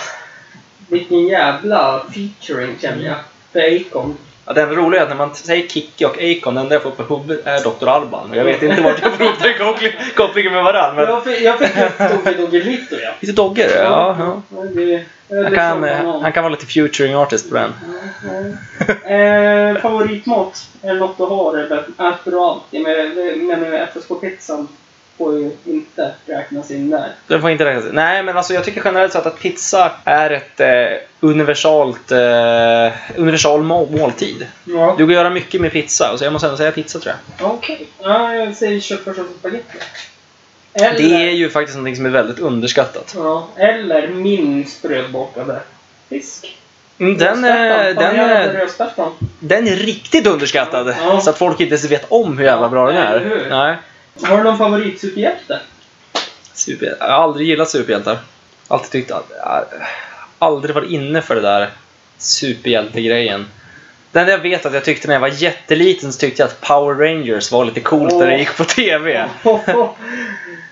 [SPEAKER 2] Vilken jävla featuring känner jag. För Akon.
[SPEAKER 3] Ja, det enda roliga är att när man säger Kikki och Akon, det enda jag får upp i huvudet är Dr. Alban. Och jag vet inte vart jag får upp den koppling- kopplingen med varandra. Men...
[SPEAKER 2] Jag fick, jag fick upp Doggy Doggy Little ja.
[SPEAKER 3] Lite dogger, ja. ja.
[SPEAKER 2] Ja, det- det
[SPEAKER 3] Han, kan,
[SPEAKER 2] är
[SPEAKER 3] eh,
[SPEAKER 2] samma
[SPEAKER 3] han kan vara lite featuring artist på den.
[SPEAKER 2] namn. Ja, ja. Eh, Favoritmat? Är det något du har eller äter du allt? Jag menar, det- menar FSK-pizzan får ju inte räknas in där.
[SPEAKER 3] Den får inte räknas. Nej, men alltså jag tycker generellt sett att pizza är ett eh, universalt, eh, universal må- måltid.
[SPEAKER 2] Ja.
[SPEAKER 3] Du kan göra mycket med pizza, så jag måste ändå säga pizza tror jag.
[SPEAKER 2] Okej. Ja, jag säger köttfärssås och spagetti. Eller,
[SPEAKER 3] Det är ju faktiskt någonting som är väldigt underskattat.
[SPEAKER 2] ja, eller min sprödbakade fisk.
[SPEAKER 3] Mm, Den, är,
[SPEAKER 2] Rödspättan. Fan,
[SPEAKER 3] den, eh,
[SPEAKER 2] jag hade
[SPEAKER 3] är,
[SPEAKER 2] rödspättan.
[SPEAKER 3] den är riktigt underskattad.
[SPEAKER 2] Ja.
[SPEAKER 3] Så att folk inte ens vet om hur jävla bra den
[SPEAKER 2] Ja, eller
[SPEAKER 3] är.
[SPEAKER 2] hur?
[SPEAKER 3] Nej.
[SPEAKER 2] Har du någon favoritsuperhjälte?
[SPEAKER 3] Super, jag har aldrig gillat superhjältar. Alltid tyckt att... jag har Aldrig varit inne för det där superhjältegrejen. Det enda jag vet att jag tyckte när jag var jätteliten så tyckte jag att Power Rangers var lite coolt när det
[SPEAKER 2] Åh.
[SPEAKER 3] gick på TV.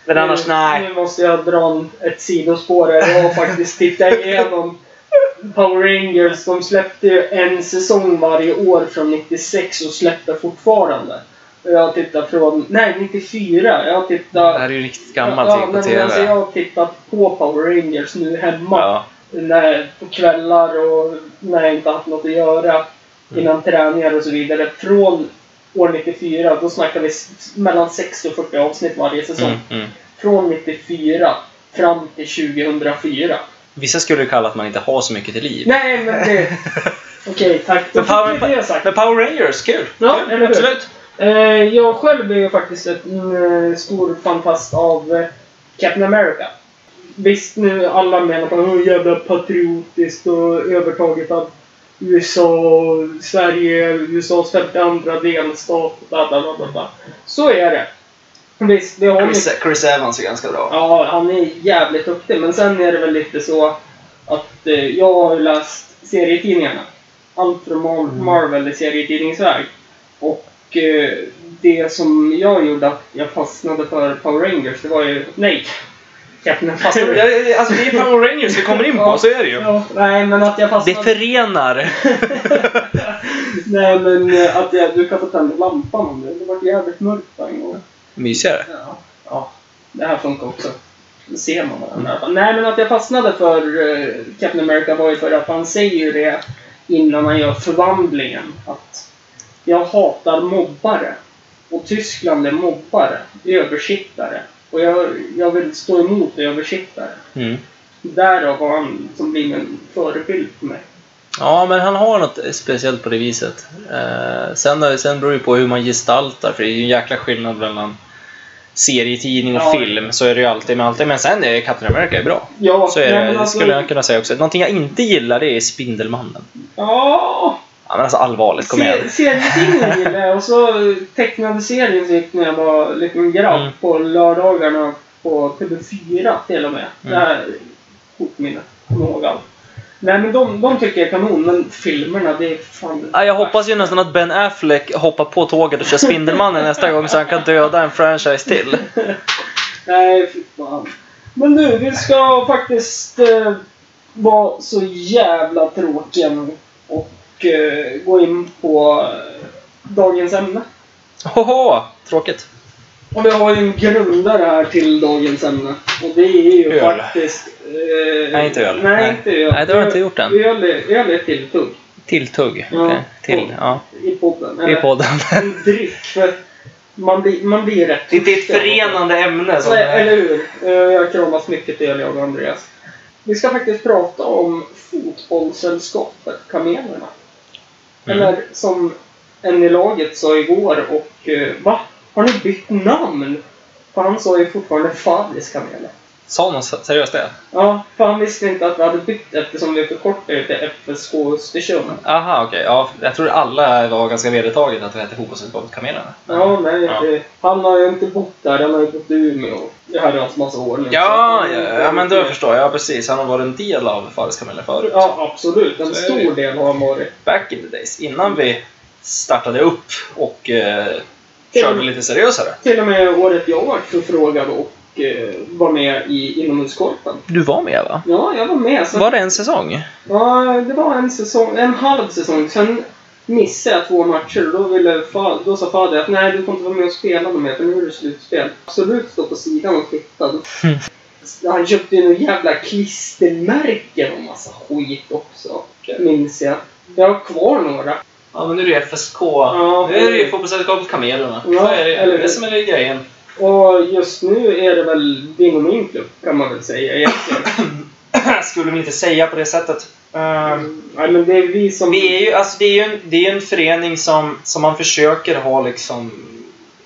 [SPEAKER 3] Men annars
[SPEAKER 2] nu,
[SPEAKER 3] nej.
[SPEAKER 2] Nu måste jag dra en, ett sidospår här. Jag har faktiskt tittat igenom Power Rangers. De släppte ju en säsong varje år från 96 och släpper fortfarande. Och Jag har tittat från... Nej, 94. Jag har
[SPEAKER 3] Det här
[SPEAKER 2] tittat...
[SPEAKER 3] är typ ju riktigt
[SPEAKER 2] Ja,
[SPEAKER 3] gammalt
[SPEAKER 2] nej,
[SPEAKER 3] ting på
[SPEAKER 2] men Alltså, jag
[SPEAKER 3] TV.
[SPEAKER 2] har tittat på Power Rangers nu hemma.
[SPEAKER 3] Ja.
[SPEAKER 2] När, på kvällar och när jag inte haft något att göra. Innan träningar och så vidare. Från år 94, då snackar vi s- mellan 60 och 40 avsnitt varje säsong
[SPEAKER 3] Mm, mm.
[SPEAKER 2] från 94 fram till 2004.
[SPEAKER 3] Vissa skulle ju kalla att man inte har så mycket till liv.
[SPEAKER 2] Nej, men det... Okej, tack. Då
[SPEAKER 3] Men
[SPEAKER 2] fick vi
[SPEAKER 3] Power,
[SPEAKER 2] det sagt.
[SPEAKER 3] men Power Rangers, kul!
[SPEAKER 2] Ja,
[SPEAKER 3] Kul,
[SPEAKER 2] eller hur?
[SPEAKER 3] Absolut!
[SPEAKER 2] Eh, jag själv är ju faktiskt en eh, stor fantast av eh, Captain America. Visst, nu alla menar på hur jävla patriotiskt och övertaget av USA, och Sverige, USAs 52 delstat, bla bla bla, bla bla. Så är det. Visst, det har mycket-
[SPEAKER 4] Chris, Chris Evans är ganska bra.
[SPEAKER 2] Ja, han är jävligt duktig. Men sen är det väl lite så att eh, jag har ju läst serietidningarna. Allt från Mar- Marvel i serietidningsväg. Och eh, det som jag gjorde att jag fastnade för Power Rangers, det var ju... Nej! Captain America.
[SPEAKER 3] Alltså det är Power Rangers vi kommer in på,
[SPEAKER 2] Ja.
[SPEAKER 3] så är det ju.
[SPEAKER 2] Ja, nej, men att jag
[SPEAKER 3] Det
[SPEAKER 2] fastnade...
[SPEAKER 3] förenar.
[SPEAKER 2] Nej, men eh, att jag... Du kan få tända lampan om det. Det var jävligt mörkt där en gång.
[SPEAKER 3] Mysigare.
[SPEAKER 2] Ja. ja, det här funkar också. Då ser man varandra.
[SPEAKER 3] Mm.
[SPEAKER 2] Nej, men att jag fastnade för eh, Captain America var ju för att han säger ju det innan han gör förvandlingen. Att jag hatar mobbare. Och Tyskland är mobbare. Översittare. Och jag, jag vill stå emot översittare.
[SPEAKER 3] Mm.
[SPEAKER 2] Därav var han som blir min förebild för mig.
[SPEAKER 3] Ja, men han har något speciellt på det viset. Eh, sen, sen beror det på hur man gestaltar, för det är ju en jäkla skillnad mellan serietidning och
[SPEAKER 2] Ja.
[SPEAKER 3] film. Så är det ju alltid med alltid. Men sen är Captain America bra.
[SPEAKER 2] Ja,
[SPEAKER 3] Så är
[SPEAKER 2] nej, men
[SPEAKER 3] det,
[SPEAKER 2] alltså-
[SPEAKER 3] skulle jag kunna säga också. Någonting jag inte gillar det är Spindelmannen.
[SPEAKER 2] Ja!
[SPEAKER 3] Ja, men alltså allvarligt, kom igen.
[SPEAKER 2] Se- Serietidningen gillade jag och så eh, tecknade serien så gick när jag var liten grabb
[SPEAKER 3] Mm.
[SPEAKER 2] på lördagarna på TV4 till och med.
[SPEAKER 3] Mm.
[SPEAKER 2] Det här är kortminne. Kommer ihåg allt. Nej men de, de tycker jag är kanon men filmerna det är fan...
[SPEAKER 3] Ja, jag hoppas ju nästan att Ben Affleck hoppar på tåget och kör Spindelmannen nästa gång så han kan döda en franchise till.
[SPEAKER 2] Nej fy fan. Men du, vi ska faktiskt eh, vara så jävla tråkiga nu och eh, gå in på eh, dagens ämne.
[SPEAKER 3] Hoho! Tråkigt.
[SPEAKER 2] Och vi har ju en grundare här till dagens ämne. Och det är ju
[SPEAKER 3] Öl.
[SPEAKER 2] faktiskt... eh,
[SPEAKER 3] Nej, inte öl.
[SPEAKER 2] Nej,
[SPEAKER 3] Nej.
[SPEAKER 2] inte öl.
[SPEAKER 3] Nej, det har jag inte gjort än.
[SPEAKER 2] Öl, är- öl är tilltugg
[SPEAKER 3] Tilltugg.
[SPEAKER 2] Ja.
[SPEAKER 3] Okej. Till, ja.
[SPEAKER 2] i podden.
[SPEAKER 3] I
[SPEAKER 2] Eller
[SPEAKER 3] podden.
[SPEAKER 2] En dryck. För man, blir, man blir rätt...
[SPEAKER 3] ämne.
[SPEAKER 2] Nej, Alltså, Eller hur? Eh, Jag kramas mycket till öl, jag och Andreas. Vi ska faktiskt prata om fotbollssällskapet Kamelerna.
[SPEAKER 3] Mm.
[SPEAKER 2] Eller som en i laget sa igår och... eh, Va? Har ni bytt namn? För han sa ju fortfarande Fabris Kameler.
[SPEAKER 3] Sa någon seriöst det?
[SPEAKER 2] Ja, för han visste inte att vi hade bytt eftersom vi förkortade det till FSK Östersund.
[SPEAKER 3] Aha, okej. Ja, jag tror alla var ganska vedertaget att vi hette Fotbollssällskapet Kamelerna.
[SPEAKER 2] Ja, nej.
[SPEAKER 3] Mm. Ja.
[SPEAKER 2] det- Han har ju inte bott där, han har ju bott i Umeå. Det här är hans massa år nu.
[SPEAKER 3] Ja,
[SPEAKER 2] Så-
[SPEAKER 3] ja, ja, men då förstår jag. Ja, precis. Han har varit en del av Fares Kameler förut.
[SPEAKER 2] Ja, absolut. En
[SPEAKER 3] Så är det ju.
[SPEAKER 2] stor del har han varit.
[SPEAKER 3] Back in the days. Innan vi startade upp och eh, körde lite seriösare.
[SPEAKER 2] Till och med året jag var förfrågad och eh, var med i Inomhuskorpen.
[SPEAKER 3] Du var med va?
[SPEAKER 2] Ja, jag var med. Så,
[SPEAKER 3] Var det en säsong?
[SPEAKER 2] ja, det var en säsong, en halv säsong. Sen missade jag två matcher och då, ville fa, då sa fader att nej, du får inte vara med och spela mer för nu är det slutspel. Absolut stå på sidan och titta. Han köpte ju några jävla klistermärken och massa skit också. Minns jag. Jag har kvar några.
[SPEAKER 3] Ja, men nu är det FSK.
[SPEAKER 2] Ja.
[SPEAKER 3] nu är det ju Fotbollssällskapet Kamelerna.
[SPEAKER 2] Ja,
[SPEAKER 3] Så är det,
[SPEAKER 2] eller
[SPEAKER 3] eller
[SPEAKER 2] hur?
[SPEAKER 3] det som är grejen.
[SPEAKER 2] Och just nu är det väl din och min klubb, kan man väl säga egentligen.
[SPEAKER 3] Skulle vi inte säga på det sättet. Ehm,
[SPEAKER 2] Nej, men det är vi som...
[SPEAKER 3] Vi är ju, alltså det är ju en, det är ju en förening som, som man försöker ha liksom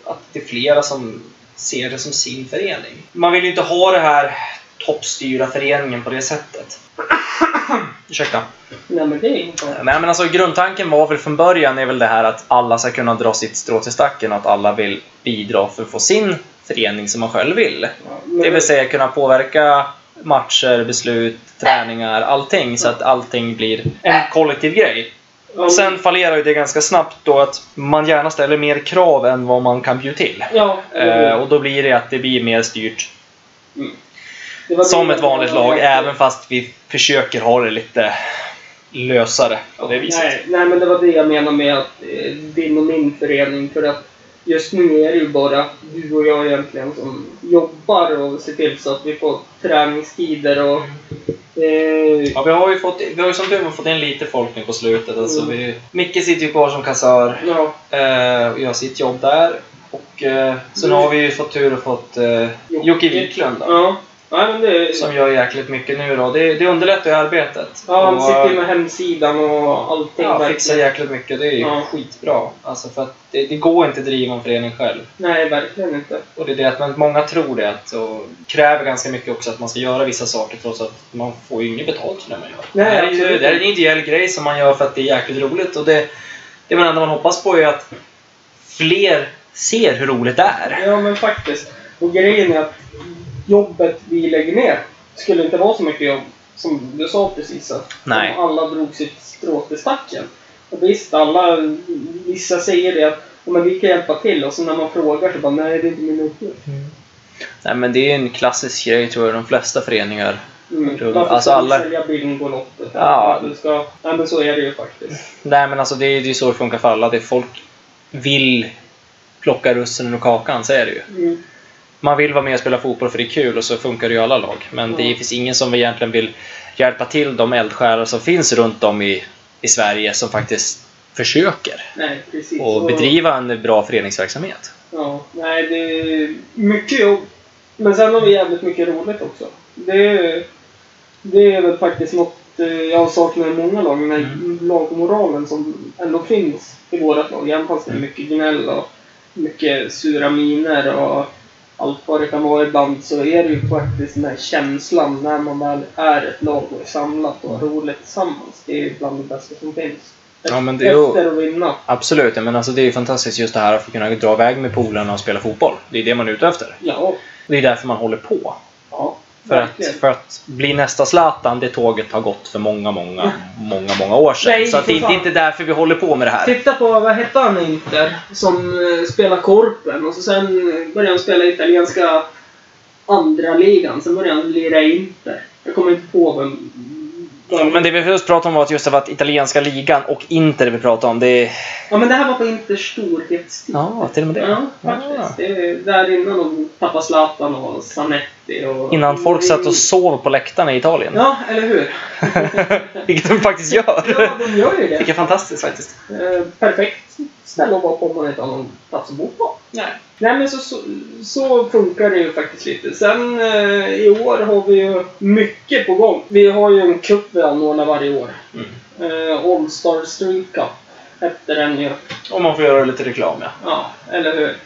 [SPEAKER 3] att det är flera som ser det som sin förening. Man vill ju inte ha det här toppstyra föreningen på det sättet. Ursäkta.
[SPEAKER 2] Nej, men det är inte bra.
[SPEAKER 3] Nej men alltså grundtanken var väl från början är väl det här att alla ska kunna dra sitt strå till stacken och att alla vill bidra för att få sin förening som man själv vill.
[SPEAKER 2] Ja, men-
[SPEAKER 3] Det vill säga kunna påverka matcher, beslut, träningar, allting så att allting blir en kollektiv grej.
[SPEAKER 2] Ja,
[SPEAKER 3] Sen fallerar ju det ganska snabbt då att man gärna ställer mer krav än vad man kan bjuda till.
[SPEAKER 2] Ja,
[SPEAKER 3] Eh, och då blir det att det blir mer styrt
[SPEAKER 2] det var det
[SPEAKER 3] som
[SPEAKER 2] jag-
[SPEAKER 3] ett vanligt lag, även fast vi försöker ha det lite lösare på det viset.
[SPEAKER 2] Nej, nej, men det var det jag menade med att eh, din och min förening. För att just nu är det ju bara du och jag egentligen som jobbar och ser till så att vi får träningstider och... Eh,
[SPEAKER 3] Ja, vi har ju fått, vi har ju som tur var fått in lite folk nu på slutet. Alltså
[SPEAKER 2] Mm.
[SPEAKER 3] vi, Micke sitter ju kvar som kassör
[SPEAKER 2] ja,
[SPEAKER 3] eh, och jag sitt jobb där. Och eh, sen
[SPEAKER 2] Mm.
[SPEAKER 3] har vi ju fått tur och fått eh,
[SPEAKER 2] Jocke.
[SPEAKER 3] Jocke Wiklund. då.
[SPEAKER 2] ja. Nej, men det,
[SPEAKER 3] Som gör jäkligt mycket nu då. Det, det underlättar ju arbetet.
[SPEAKER 2] ja, han
[SPEAKER 3] Och,
[SPEAKER 2] sitter ju med hemsidan och allting.
[SPEAKER 3] Ja,
[SPEAKER 2] verkligen.
[SPEAKER 3] fixar jäkligt mycket. Det är ju
[SPEAKER 2] Ja.
[SPEAKER 3] skitbra. Alltså för att det, det går inte att driva en förening själv.
[SPEAKER 2] Nej, verkligen inte.
[SPEAKER 3] Och det är det att man, många tror det att, och kräver ganska mycket också att man ska göra vissa saker trots att man får ju inget betalt för det man gör.
[SPEAKER 2] Nej,
[SPEAKER 3] det, här är ju,
[SPEAKER 2] absolut
[SPEAKER 3] det här är en ideell grej som man gör för att det är jäkligt roligt. Och det, det man enda man hoppas på är att fler ser hur roligt det är.
[SPEAKER 2] Ja, men faktiskt. Och grejen är att jobbet vi lägger ner skulle inte vara så mycket jobb som du sa precis. Att
[SPEAKER 3] Nej.
[SPEAKER 2] om alla drog sitt strå till stacken. Och visst, alla, vissa säger det att "Ja, men vi kan hjälpa till. Och så när man frågar så bara nej, det är inte min uppgift.
[SPEAKER 3] Nej, men det är en klassisk grej tror jag de flesta föreningar.
[SPEAKER 2] Mm.
[SPEAKER 3] Rull.
[SPEAKER 2] Varför
[SPEAKER 3] Alltså,
[SPEAKER 2] ska
[SPEAKER 3] alla-
[SPEAKER 2] du sälja bingolotter?
[SPEAKER 3] Ja.
[SPEAKER 2] Du ska... Nej, men så är det ju faktiskt.
[SPEAKER 3] Nej, men alltså det är det är så det funkar för alla. Det är folk vill plocka russinen ur kakan, så är det ju.
[SPEAKER 2] Mm.
[SPEAKER 3] man vill vara med och spela fotboll för det är kul och så funkar det i alla lag. Men det
[SPEAKER 2] Mm.
[SPEAKER 3] finns ingen som egentligen vill hjälpa till de eldsjälar som finns runt om i, i Sverige som faktiskt försöker
[SPEAKER 2] Nej, precis.
[SPEAKER 3] och
[SPEAKER 2] Så-
[SPEAKER 3] bedriva en bra föreningsverksamhet.
[SPEAKER 2] Ja, nej det är mycket jobb. Men sen har vi jävligt mycket roligt också. Det är, det är väl faktiskt något eh, jag saknar i många lag, den här
[SPEAKER 3] Mm.
[SPEAKER 2] lagmoralen som ändå finns i vårat lag. Även fast det är mycket gnäll och mycket sura miner och allt vad det kan vara ibland så är det ju faktiskt den här känslan när man väl är ett lag och är samlat och har roligt tillsammans. Det är bland det bästa som finns.
[SPEAKER 3] Ja, men det är ju-
[SPEAKER 2] Efter att vinna.
[SPEAKER 3] Absolut, men alltså det är ju fantastiskt just det här att få kunna dra iväg med polarna och spela fotboll. Det är det man är ute efter.
[SPEAKER 2] Ja,
[SPEAKER 3] Det är därför man håller på.
[SPEAKER 2] ja.
[SPEAKER 3] För att, för att bli nästa Zlatan, det tåget har gått för många, många, många, många år sedan.
[SPEAKER 2] Mm. Nej,
[SPEAKER 3] så att det
[SPEAKER 2] för
[SPEAKER 3] är inte-
[SPEAKER 2] fan.
[SPEAKER 3] inte därför vi håller på med det här.
[SPEAKER 2] Titta på, vad hette han i Inter? Som eh, spelar Korpen och så sen eh, började han spela italienska andra ligan. Sen började han lira i Inter. Jag kommer inte på vem...
[SPEAKER 3] Ja, Men det vi just pratade om var att just det var att italienska ligan och Inter vi pratade om. Det är...
[SPEAKER 2] Ja men det här var på Inters storhetstid.
[SPEAKER 3] Ja, till och med det.
[SPEAKER 2] Ja, faktiskt. Det är där innan de tappade Zlatan och Zanetti och...
[SPEAKER 3] Innan folk satt och sov på läktarna i Italien.
[SPEAKER 2] Ja, eller hur?
[SPEAKER 3] Vilket de faktiskt gör.
[SPEAKER 2] Ja, de gör ju det.
[SPEAKER 3] Vilket fantastiskt faktiskt.
[SPEAKER 2] Eh, perfekt ställe att vara på om man inte har någon plats att bo på. Nej. Nej men så, så, så funkar det ju faktiskt lite. Sen eh, i år har vi ju mycket på gång. Vi har ju en cup vi anordnar varje år. Eh, All Star Street Cup hette den ju.
[SPEAKER 3] Om man får göra lite reklam ja.
[SPEAKER 2] Ja, eller hur?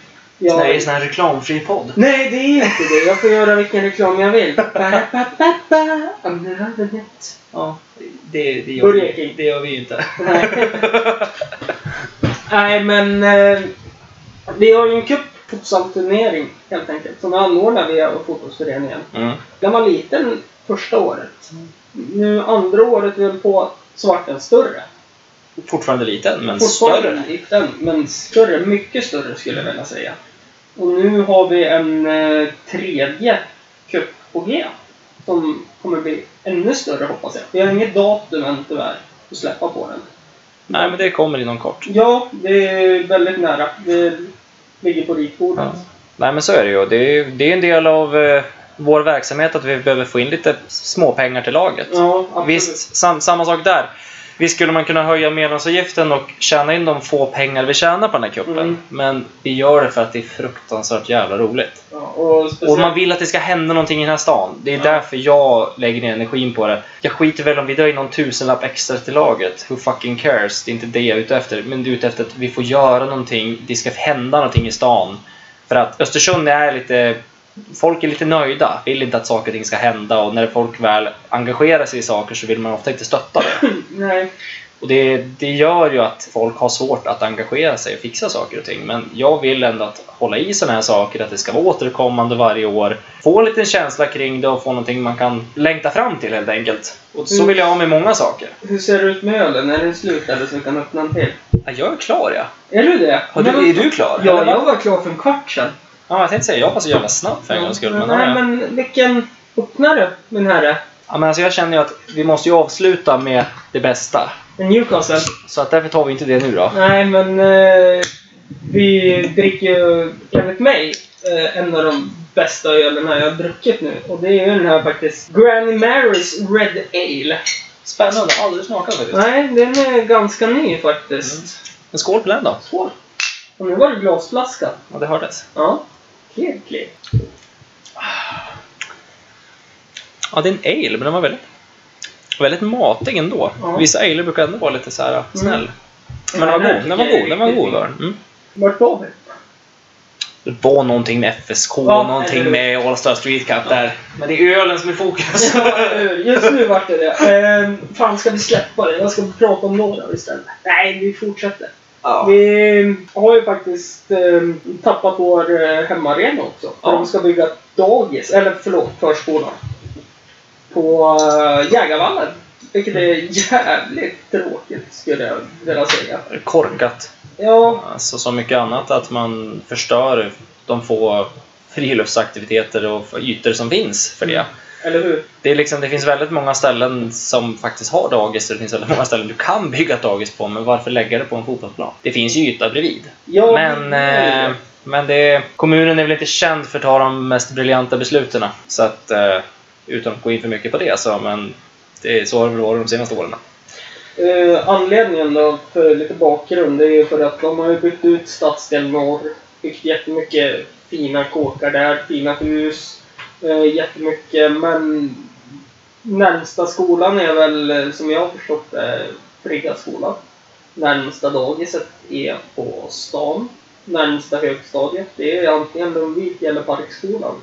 [SPEAKER 2] Jag-
[SPEAKER 3] Nej, det är sån här reklamfri podd.
[SPEAKER 2] Nej, det är inte det. Jag får göra vilken reklam jag vill. Ba-ba-ba-ba, under öronet. Ja.
[SPEAKER 3] Det, det,
[SPEAKER 2] gör vi-
[SPEAKER 3] det gör vi ju inte.
[SPEAKER 2] Nej. Nej, men eh, vi har ju en cup fotbollsturnering helt enkelt som vi anordnar via fotbollsföreningen.
[SPEAKER 3] Mm.
[SPEAKER 2] Den var liten första året. Nu andra året vi höll på så vart den större.
[SPEAKER 3] Fortfarande liten, men
[SPEAKER 2] Fortfarande
[SPEAKER 3] större.
[SPEAKER 2] liten, men större. Mycket större skulle jag vilja säga. Och nu har vi en eh, tredje cup på G. Som kommer bli ännu större hoppas jag. Vi har inget datum än tyvärr att släppa på den.
[SPEAKER 3] Nej, men det kommer inom kort.
[SPEAKER 2] Ja, det är väldigt nära. Det ligger på ritbordet.
[SPEAKER 3] Ja. Nej, men så är det ju. Det är, det är en del av eh, vår verksamhet att vi behöver få in lite småpengar till laget.
[SPEAKER 2] Ja, absolut.
[SPEAKER 3] Visst, sam, samma sak där. Visst skulle man kunna höja medlemsavgiften och tjäna in de få pengar vi tjänar på den här kuppen.
[SPEAKER 2] Mm.
[SPEAKER 3] Men vi gör det för att det är fruktansvärt jävla roligt.
[SPEAKER 2] Ja, och
[SPEAKER 3] Och
[SPEAKER 2] speciellt,
[SPEAKER 3] man vill att det ska hända någonting i den här stan. Det är
[SPEAKER 2] Ja.
[SPEAKER 3] därför jag lägger ner energin på det. Jag skiter väl om vi drar in någon tusenlapp extra till laget. Who fucking cares? Det är inte det jag är ute efter. Men det är ute efter att vi får göra någonting. Det ska hända någonting i stan. För att Östersund är lite... Folk är lite nöjda. Vill inte att saker och ting ska hända. Och när folk väl engagerar sig i saker så vill man ofta inte stötta det.
[SPEAKER 2] Nej,
[SPEAKER 3] Och det, det gör ju att folk har svårt att engagera sig och fixa saker och ting. Men jag vill ändå att hålla i sådana här saker, att det ska vara återkommande varje år. Få en liten känsla kring det och få någonting man kan längta fram till helt enkelt. Och så
[SPEAKER 2] Mm.
[SPEAKER 3] vill jag ha med många saker.
[SPEAKER 2] hur ser det ut med ölen? Är den slut eller så vi kan öppna en till?
[SPEAKER 3] Ja, jag är klar ja.
[SPEAKER 2] Är du det?
[SPEAKER 3] Har du-
[SPEAKER 2] Men vad-
[SPEAKER 3] är du klar,
[SPEAKER 2] Ja,
[SPEAKER 3] eller?
[SPEAKER 2] jag var klar för en kvart sedan.
[SPEAKER 3] ja jag tänkte säga, jag var så jävla snabb för en gångs skull. Men,
[SPEAKER 2] Nej,
[SPEAKER 3] ja,
[SPEAKER 2] men vilken öppnare, min herre?
[SPEAKER 3] ja, men alltså, jag känner ju att vi måste ju avsluta med det bästa.
[SPEAKER 2] En Newcastle?
[SPEAKER 3] Så att därför tar vi inte det nu då.
[SPEAKER 2] Nej, men eh, vi dricker ju, enligt mig, eh, en av de bästa ölerna jag har druckit nu. Och det är ju den här faktiskt. Granny Marys Red Ale.
[SPEAKER 3] Spännande, aldrig smakat faktiskt.
[SPEAKER 2] Nej, den är ganska ny faktiskt.
[SPEAKER 3] Men skål på den då.
[SPEAKER 2] Skål! Mm. Och nu var det glasflaska.
[SPEAKER 3] Ja, det hördes.
[SPEAKER 2] Ja. Helt klart.
[SPEAKER 3] Ja, det är en ale, men den var väldigt, väldigt matig ändå.
[SPEAKER 2] Ja. Mm.
[SPEAKER 3] Vissa ale brukar ändå vara lite så här snäll. Men den var god. Den var god. Den var god. var den. Mm.
[SPEAKER 2] Vart var vi?
[SPEAKER 3] Det var någonting med FSK,
[SPEAKER 2] Ja,
[SPEAKER 3] någonting
[SPEAKER 2] eller-
[SPEAKER 3] med All Star Street Cup där. Men det är ölen som är i fokus.
[SPEAKER 2] Just nu vart det det. Ehm, fan, ska vi släppa det? Jag ska prata om några istället. Nej, vi fortsätter.
[SPEAKER 3] ja.
[SPEAKER 2] Vi har ju faktiskt ehm, tappat vår eh, hemmaarena också. För
[SPEAKER 3] Ja.
[SPEAKER 2] De ska bygga dagis, eller förlåt, förskola. På eh, Jägarvallen. Vilket är jävligt tråkigt, skulle jag vilja säga.
[SPEAKER 3] Korkat.
[SPEAKER 2] Ja,
[SPEAKER 3] Alltså som mycket annat att man förstör de få friluftsaktiviteter och ytor som finns för
[SPEAKER 2] Mm.
[SPEAKER 3] det.
[SPEAKER 2] eller hur?
[SPEAKER 3] Det, är liksom, det finns väldigt många ställen som faktiskt har dagis och det finns väldigt många ställen du kan bygga ett dagis på, men varför lägga det på en fotbollsplan? Det finns ju yta bredvid.
[SPEAKER 2] Ja,
[SPEAKER 3] Men, eh, men det, kommunen är väl inte känd för att ta de mest briljanta besluten. Så att, eh, utan att gå in för mycket på det, så, men det är så har det väl varit de senaste åren.
[SPEAKER 2] Eh, anledningen då, för lite bakgrund, det är ju för att de har ju byggt ut stadsdel norr. Byggt jättemycket fina kåkar där, fina hus. Eh, jättemycket, men närmsta skolan är väl, eh, som jag har förstått eh, Friggaskolan. Närmsta dagiset är på stan. Närmsta högstadiet, det är antingen Lundvik eller Parkskolan.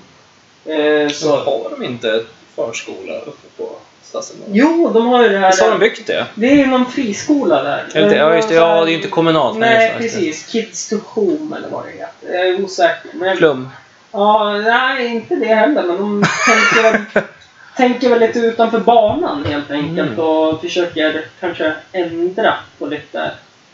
[SPEAKER 2] Eh, så,
[SPEAKER 3] har de inte förskola uppe på Stadsdelen?
[SPEAKER 2] jo, de har ju det här...
[SPEAKER 3] Visst har de byggt det?
[SPEAKER 2] Det är ju någon friskola där.
[SPEAKER 3] Eller inte- Ja, just det. Ja, det är ju inte kommunalt. men
[SPEAKER 2] Nej,
[SPEAKER 3] just det.
[SPEAKER 2] precis. Kids to Home eller vad det heter. Jag är osäker. Men,
[SPEAKER 3] Flum.
[SPEAKER 2] ja, nej, inte det heller. Men de tänker, väl- tänker väl lite utanför banan helt enkelt.
[SPEAKER 3] Mm.
[SPEAKER 2] Och försöker kanske ändra på lite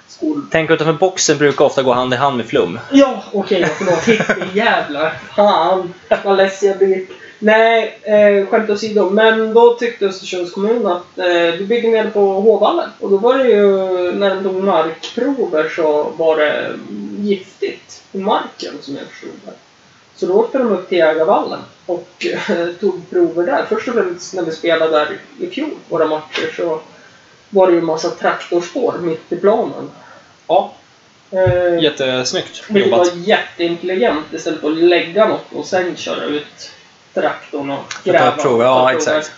[SPEAKER 2] skol...
[SPEAKER 3] Tänk utanför boxen brukar ofta gå hand i hand med flum.
[SPEAKER 2] Ja, okej, okay, förlåt. Hippie-jävlar. Fan, vad less jag blir. Nej, eh, skämt åsido. Men då tyckte Östersunds kommun att eh, vi bygger ner på Håvallen. Och då var det ju, när de tog markprover så var det mm, giftigt i marken som jag förstod det. Så då åkte de upp till Jägarvallen och eh, tog prover där. Först och främst när vi spelade där i fjol, våra matcher, så var det ju en massa traktorspår mitt i planen.
[SPEAKER 3] Ja,
[SPEAKER 2] Eh,
[SPEAKER 3] jättesnyggt
[SPEAKER 2] vilket
[SPEAKER 3] jobbat.
[SPEAKER 2] var jätteintelligent istället för att lägga något och sen köra ut traktorn och
[SPEAKER 3] ta
[SPEAKER 2] gräva.
[SPEAKER 3] ett prov, ja,
[SPEAKER 2] Ta prover.
[SPEAKER 3] exakt.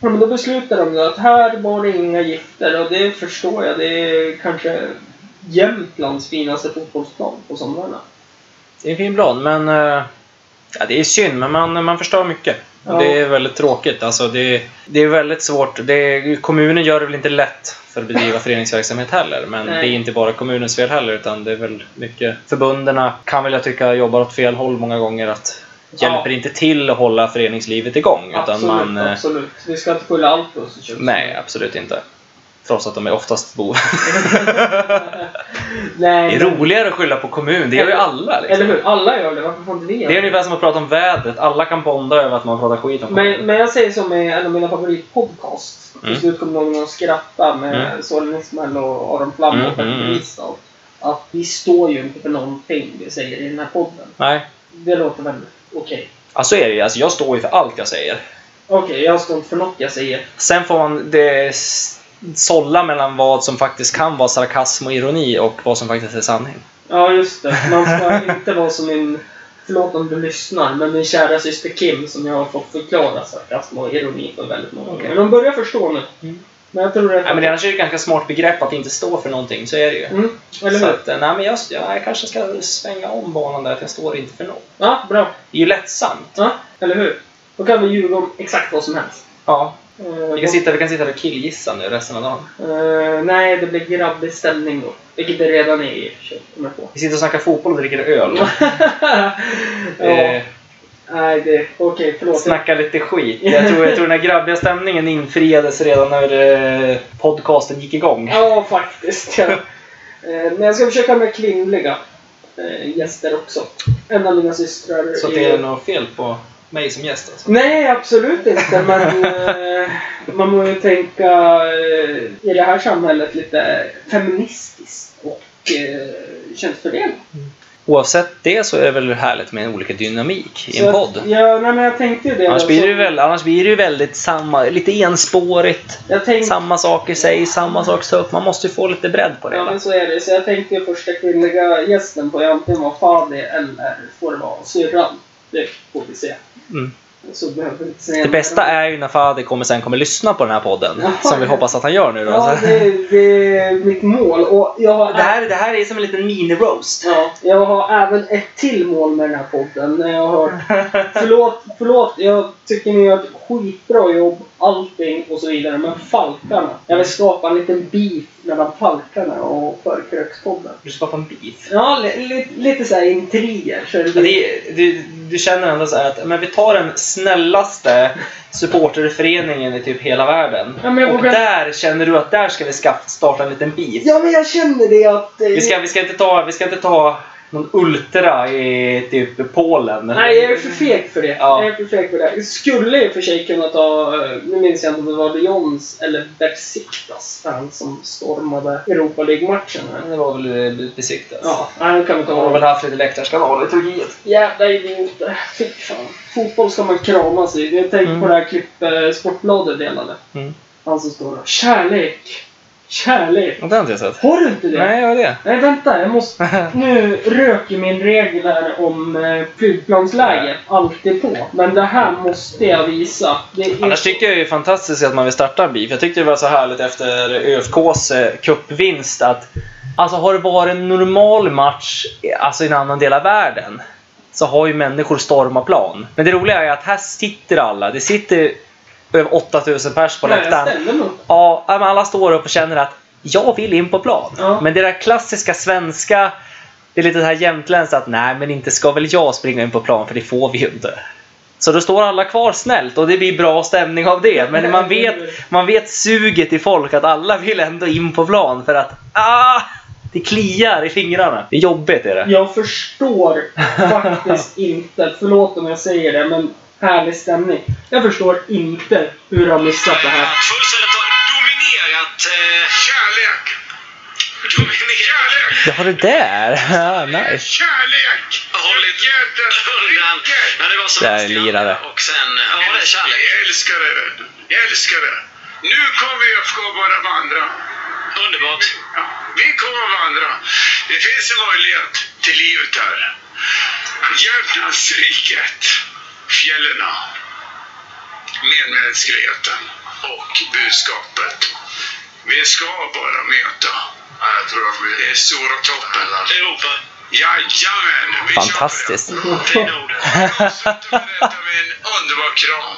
[SPEAKER 2] Ja, men då beslutade de ju att här var det inga gifter och det förstår jag. Det är kanske Jämtlands finaste fotbollsplan på somrarna.
[SPEAKER 3] Det är en fin plan, men... eh, Ja, det är synd, men man, man förstör mycket. Och
[SPEAKER 2] Ja.
[SPEAKER 3] Det är väldigt tråkigt. Alltså, det, det är väldigt svårt. Det, kommunen gör det väl inte lätt för att bedriva föreningsverksamhet heller. Men
[SPEAKER 2] Nej.
[SPEAKER 3] det är inte bara kommunens fel heller, utan det är väl mycket... Förbunderna kan väl jag tycka jobbar åt fel håll många gånger. att
[SPEAKER 2] Ja.
[SPEAKER 3] Hjälper inte till att hålla föreningslivet igång. Utan
[SPEAKER 2] absolut,
[SPEAKER 3] man, eh,
[SPEAKER 2] absolut. Vi ska inte skylla allt på Östersunds
[SPEAKER 3] Nej, absolut inte. Trots att de är oftast bovar. Det
[SPEAKER 2] Nej.
[SPEAKER 3] är roligare att skylla på kommun. Det gör ju alla. Liksom.
[SPEAKER 2] Eller hur? Alla gör det. Varför får inte vi göra
[SPEAKER 3] Det är ungefär som att prata om vädret. Alla kan bonda över att man pratar skit om
[SPEAKER 2] Men,
[SPEAKER 3] kommunen.
[SPEAKER 2] men jag säger som i en av mina favoritpodcasts. Till
[SPEAKER 3] Mm.
[SPEAKER 2] slut kommer någon att skratta med
[SPEAKER 3] Mm.
[SPEAKER 2] Solen Ismail och Aron Flam och
[SPEAKER 3] Mm,
[SPEAKER 2] Petter
[SPEAKER 3] mm, mm.
[SPEAKER 2] Bristav. Att vi står ju inte för någonting vi säger i den här podden.
[SPEAKER 3] Nej.
[SPEAKER 2] Det låter väl okej.
[SPEAKER 3] Ja, så är det ju. Alltså, jag står ju för allt jag säger.
[SPEAKER 2] Okej, jag står inte för något jag säger.
[SPEAKER 3] Sen får man det s- sålla mellan vad som faktiskt kan vara sarkasm och ironi och vad som faktiskt är sanning.
[SPEAKER 2] Ja, just det. Man ska inte vara som min... Förlåt om du lyssnar, men min kära syster Kim som jag har fått förklara sarkasm och ironi för väldigt många
[SPEAKER 3] Okej.
[SPEAKER 2] Men de börjar förstå nu.
[SPEAKER 3] Mm.
[SPEAKER 2] Men jag tror att...
[SPEAKER 3] Nej, men det annars är det ett ganska smart begrepp att inte stå för någonting. Så är det ju.
[SPEAKER 2] Mm, eller
[SPEAKER 3] Så
[SPEAKER 2] hur?
[SPEAKER 3] att, eh, nej, men jag, jag, jag kanske ska svänga om banan där, för jag står inte för något.
[SPEAKER 2] Ja, bra.
[SPEAKER 3] Det är ju lättsamt.
[SPEAKER 2] Ja, eller hur? Då kan vi ljuga om exakt vad som helst.
[SPEAKER 3] Ja.
[SPEAKER 2] Eh,
[SPEAKER 3] Vi kan sitta, vi kan sitta och killgissa nu resten av dagen.
[SPEAKER 2] eh, nej, det blir grabbig stämning då. Vilket det redan är i och för sig, kom jag på.
[SPEAKER 3] Vi sitter och snackar fotboll och dricker öl.
[SPEAKER 2] ja,
[SPEAKER 3] Eh,
[SPEAKER 2] nej, det... Okej, förlåt.
[SPEAKER 3] Snacka lite skit. Jag tror, jag tror den här grabbiga stämningen infriades redan när eh, podcasten gick igång.
[SPEAKER 2] Ja, faktiskt. Ja. Eh, men jag ska försöka med kvinnliga eh, gäster också. En av mina systrar
[SPEAKER 3] Så att det är något fel på mig som gäst alltså.
[SPEAKER 2] Nej, absolut inte. Men eh, man må ju tänka eh, i det här samhället lite feministiskt och eh, könsfördelat.
[SPEAKER 3] Oavsett det så är det väl härligt med olika dynamik i
[SPEAKER 2] Så
[SPEAKER 3] en
[SPEAKER 2] att-
[SPEAKER 3] podd.
[SPEAKER 2] Ja, nej, men jag tänkte ju det. Alltså,
[SPEAKER 3] Annars
[SPEAKER 2] Så-
[SPEAKER 3] blir, det ju väl, annars blir det ju väldigt samma, lite enspårigt.
[SPEAKER 2] jag tänkte,
[SPEAKER 3] Samma saker sägs, samma saker tas upp. Man måste ju få lite bredd på det
[SPEAKER 2] Ja,
[SPEAKER 3] hela.
[SPEAKER 2] men så är det. Så jag tänkte ju första kvinnliga gästen på antingen vara Fadi eller får det vara syrran. Det får vi se.
[SPEAKER 3] Mm.
[SPEAKER 2] Så behöver vi inte säga
[SPEAKER 3] Det
[SPEAKER 2] mer.
[SPEAKER 3] bästa är ju när Fader kommer sen kommer lyssna på den här podden.
[SPEAKER 2] Ja.
[SPEAKER 3] Som vi hoppas att han gör nu då.
[SPEAKER 2] Ja, det, det är mitt mål. Och jag har,
[SPEAKER 4] Det här, det här är som en liten mini-roast.
[SPEAKER 2] ja, jag har även ett till mål med den här podden. När jag har, förlåt, förlåt, jag tycker ni gör ett skitbra jobb, allting och så vidare. Men Falkarna. Jag vill skapa en liten beef mellan Falkarna och Förkrökspodden.
[SPEAKER 4] Du skapar en beef.
[SPEAKER 2] Ja, li, li, lite såhär intriger. Så det
[SPEAKER 4] Ja,
[SPEAKER 2] blir,
[SPEAKER 4] Det, är- du, du känner ändå så här att men vi tar den snällaste supporterföreningen i typ hela världen.
[SPEAKER 2] Ja, men jag
[SPEAKER 4] och
[SPEAKER 2] vågar-
[SPEAKER 4] där känner du att där ska vi ska starta en liten beef.
[SPEAKER 2] ja, men jag känner det att... eh,
[SPEAKER 4] Vi, ska, vi, ska inte ta, vi ska inte ta någon ultra i typ Polen.
[SPEAKER 2] Nej, jag är för feg för det.
[SPEAKER 4] Ja.
[SPEAKER 2] Jag är för feg för det. Jag skulle i och för sig kunna ta, eh, nu minns jag inte om det var Lyons eller Besiktas fan som stormade Europa League-matchen här.
[SPEAKER 4] Det var väl eh, besiktas.
[SPEAKER 2] Ja, nej, det kan vi
[SPEAKER 4] De har
[SPEAKER 2] ta.
[SPEAKER 4] väl haft lite läktarskanal i Turkiet.
[SPEAKER 2] Jävla idioter. Fy fan. Fotboll ska man kramas i. Jag tänkte
[SPEAKER 4] Mm.
[SPEAKER 2] på det här klipp eh, Sportbladet delade.
[SPEAKER 4] Mm.
[SPEAKER 2] Han som står där. Kärlek! Kärlek!
[SPEAKER 3] Det har inte jag sett.
[SPEAKER 2] Har du inte det?
[SPEAKER 3] Nej, jag har det.
[SPEAKER 2] Nej, vänta. Jag måste... Nu röker min regel här om eh, flygplansläge alltid på. Men det här måste jag visa. Det är...
[SPEAKER 3] Annars tycker jag det är fantastiskt att man vill starta en beef. Jag tyckte det var så härligt efter ÖFKs eh, cupvinst att alltså har det varit en normal match eh, alltså i en annan del av världen så har ju människor stormat plan. Men det roliga är att här sitter alla. Det sitter över 8000 pers på
[SPEAKER 2] Nej, jag
[SPEAKER 3] läktaren.
[SPEAKER 2] ställer mig upp.
[SPEAKER 3] Ja, men alla står upp och känner att jag vill in på plan.
[SPEAKER 2] Ja.
[SPEAKER 3] Men det där klassiska svenska, det är lite det här jämtländskt att nej, men inte ska väl jag springa in på plan för det får vi ju inte. Så då står alla kvar snällt och det blir bra stämning av det. Men man vet, man vet suget i folk att alla vill ändå in på plan för att ah, det kliar i fingrarna. Det är jobbigt är det.
[SPEAKER 2] Jag förstår faktiskt inte, förlåt om jag säger det, men härlig stämning. Jag förstår inte hur jag har missat det här.
[SPEAKER 5] Fullständigt dominerat. Eh, kärlek. Dominerat. Kärlek.
[SPEAKER 3] Ja, det där. Ja, nice.
[SPEAKER 5] Kärlek. Hållit jätten undan. När det var som
[SPEAKER 3] Det här är
[SPEAKER 5] mest i
[SPEAKER 3] lirare.
[SPEAKER 5] andra Och sen, eh, ja det är kärlek. Jag älskar det. Jag älskar det. Nu kommer ÖFK bara vandra. Underbart. Ja, vi kommer att vandra. Det finns en möjlighet till livet här. Jämtlandsriket. Fjällen medmänskligheten och budskapet. Vi ska bara möta. Jag tror att vi är stora toppen. Europa. Jajamän! vi kör på det.
[SPEAKER 3] Fantastiskt.
[SPEAKER 5] Fina orden. Avsluta med detta med en underbar kram.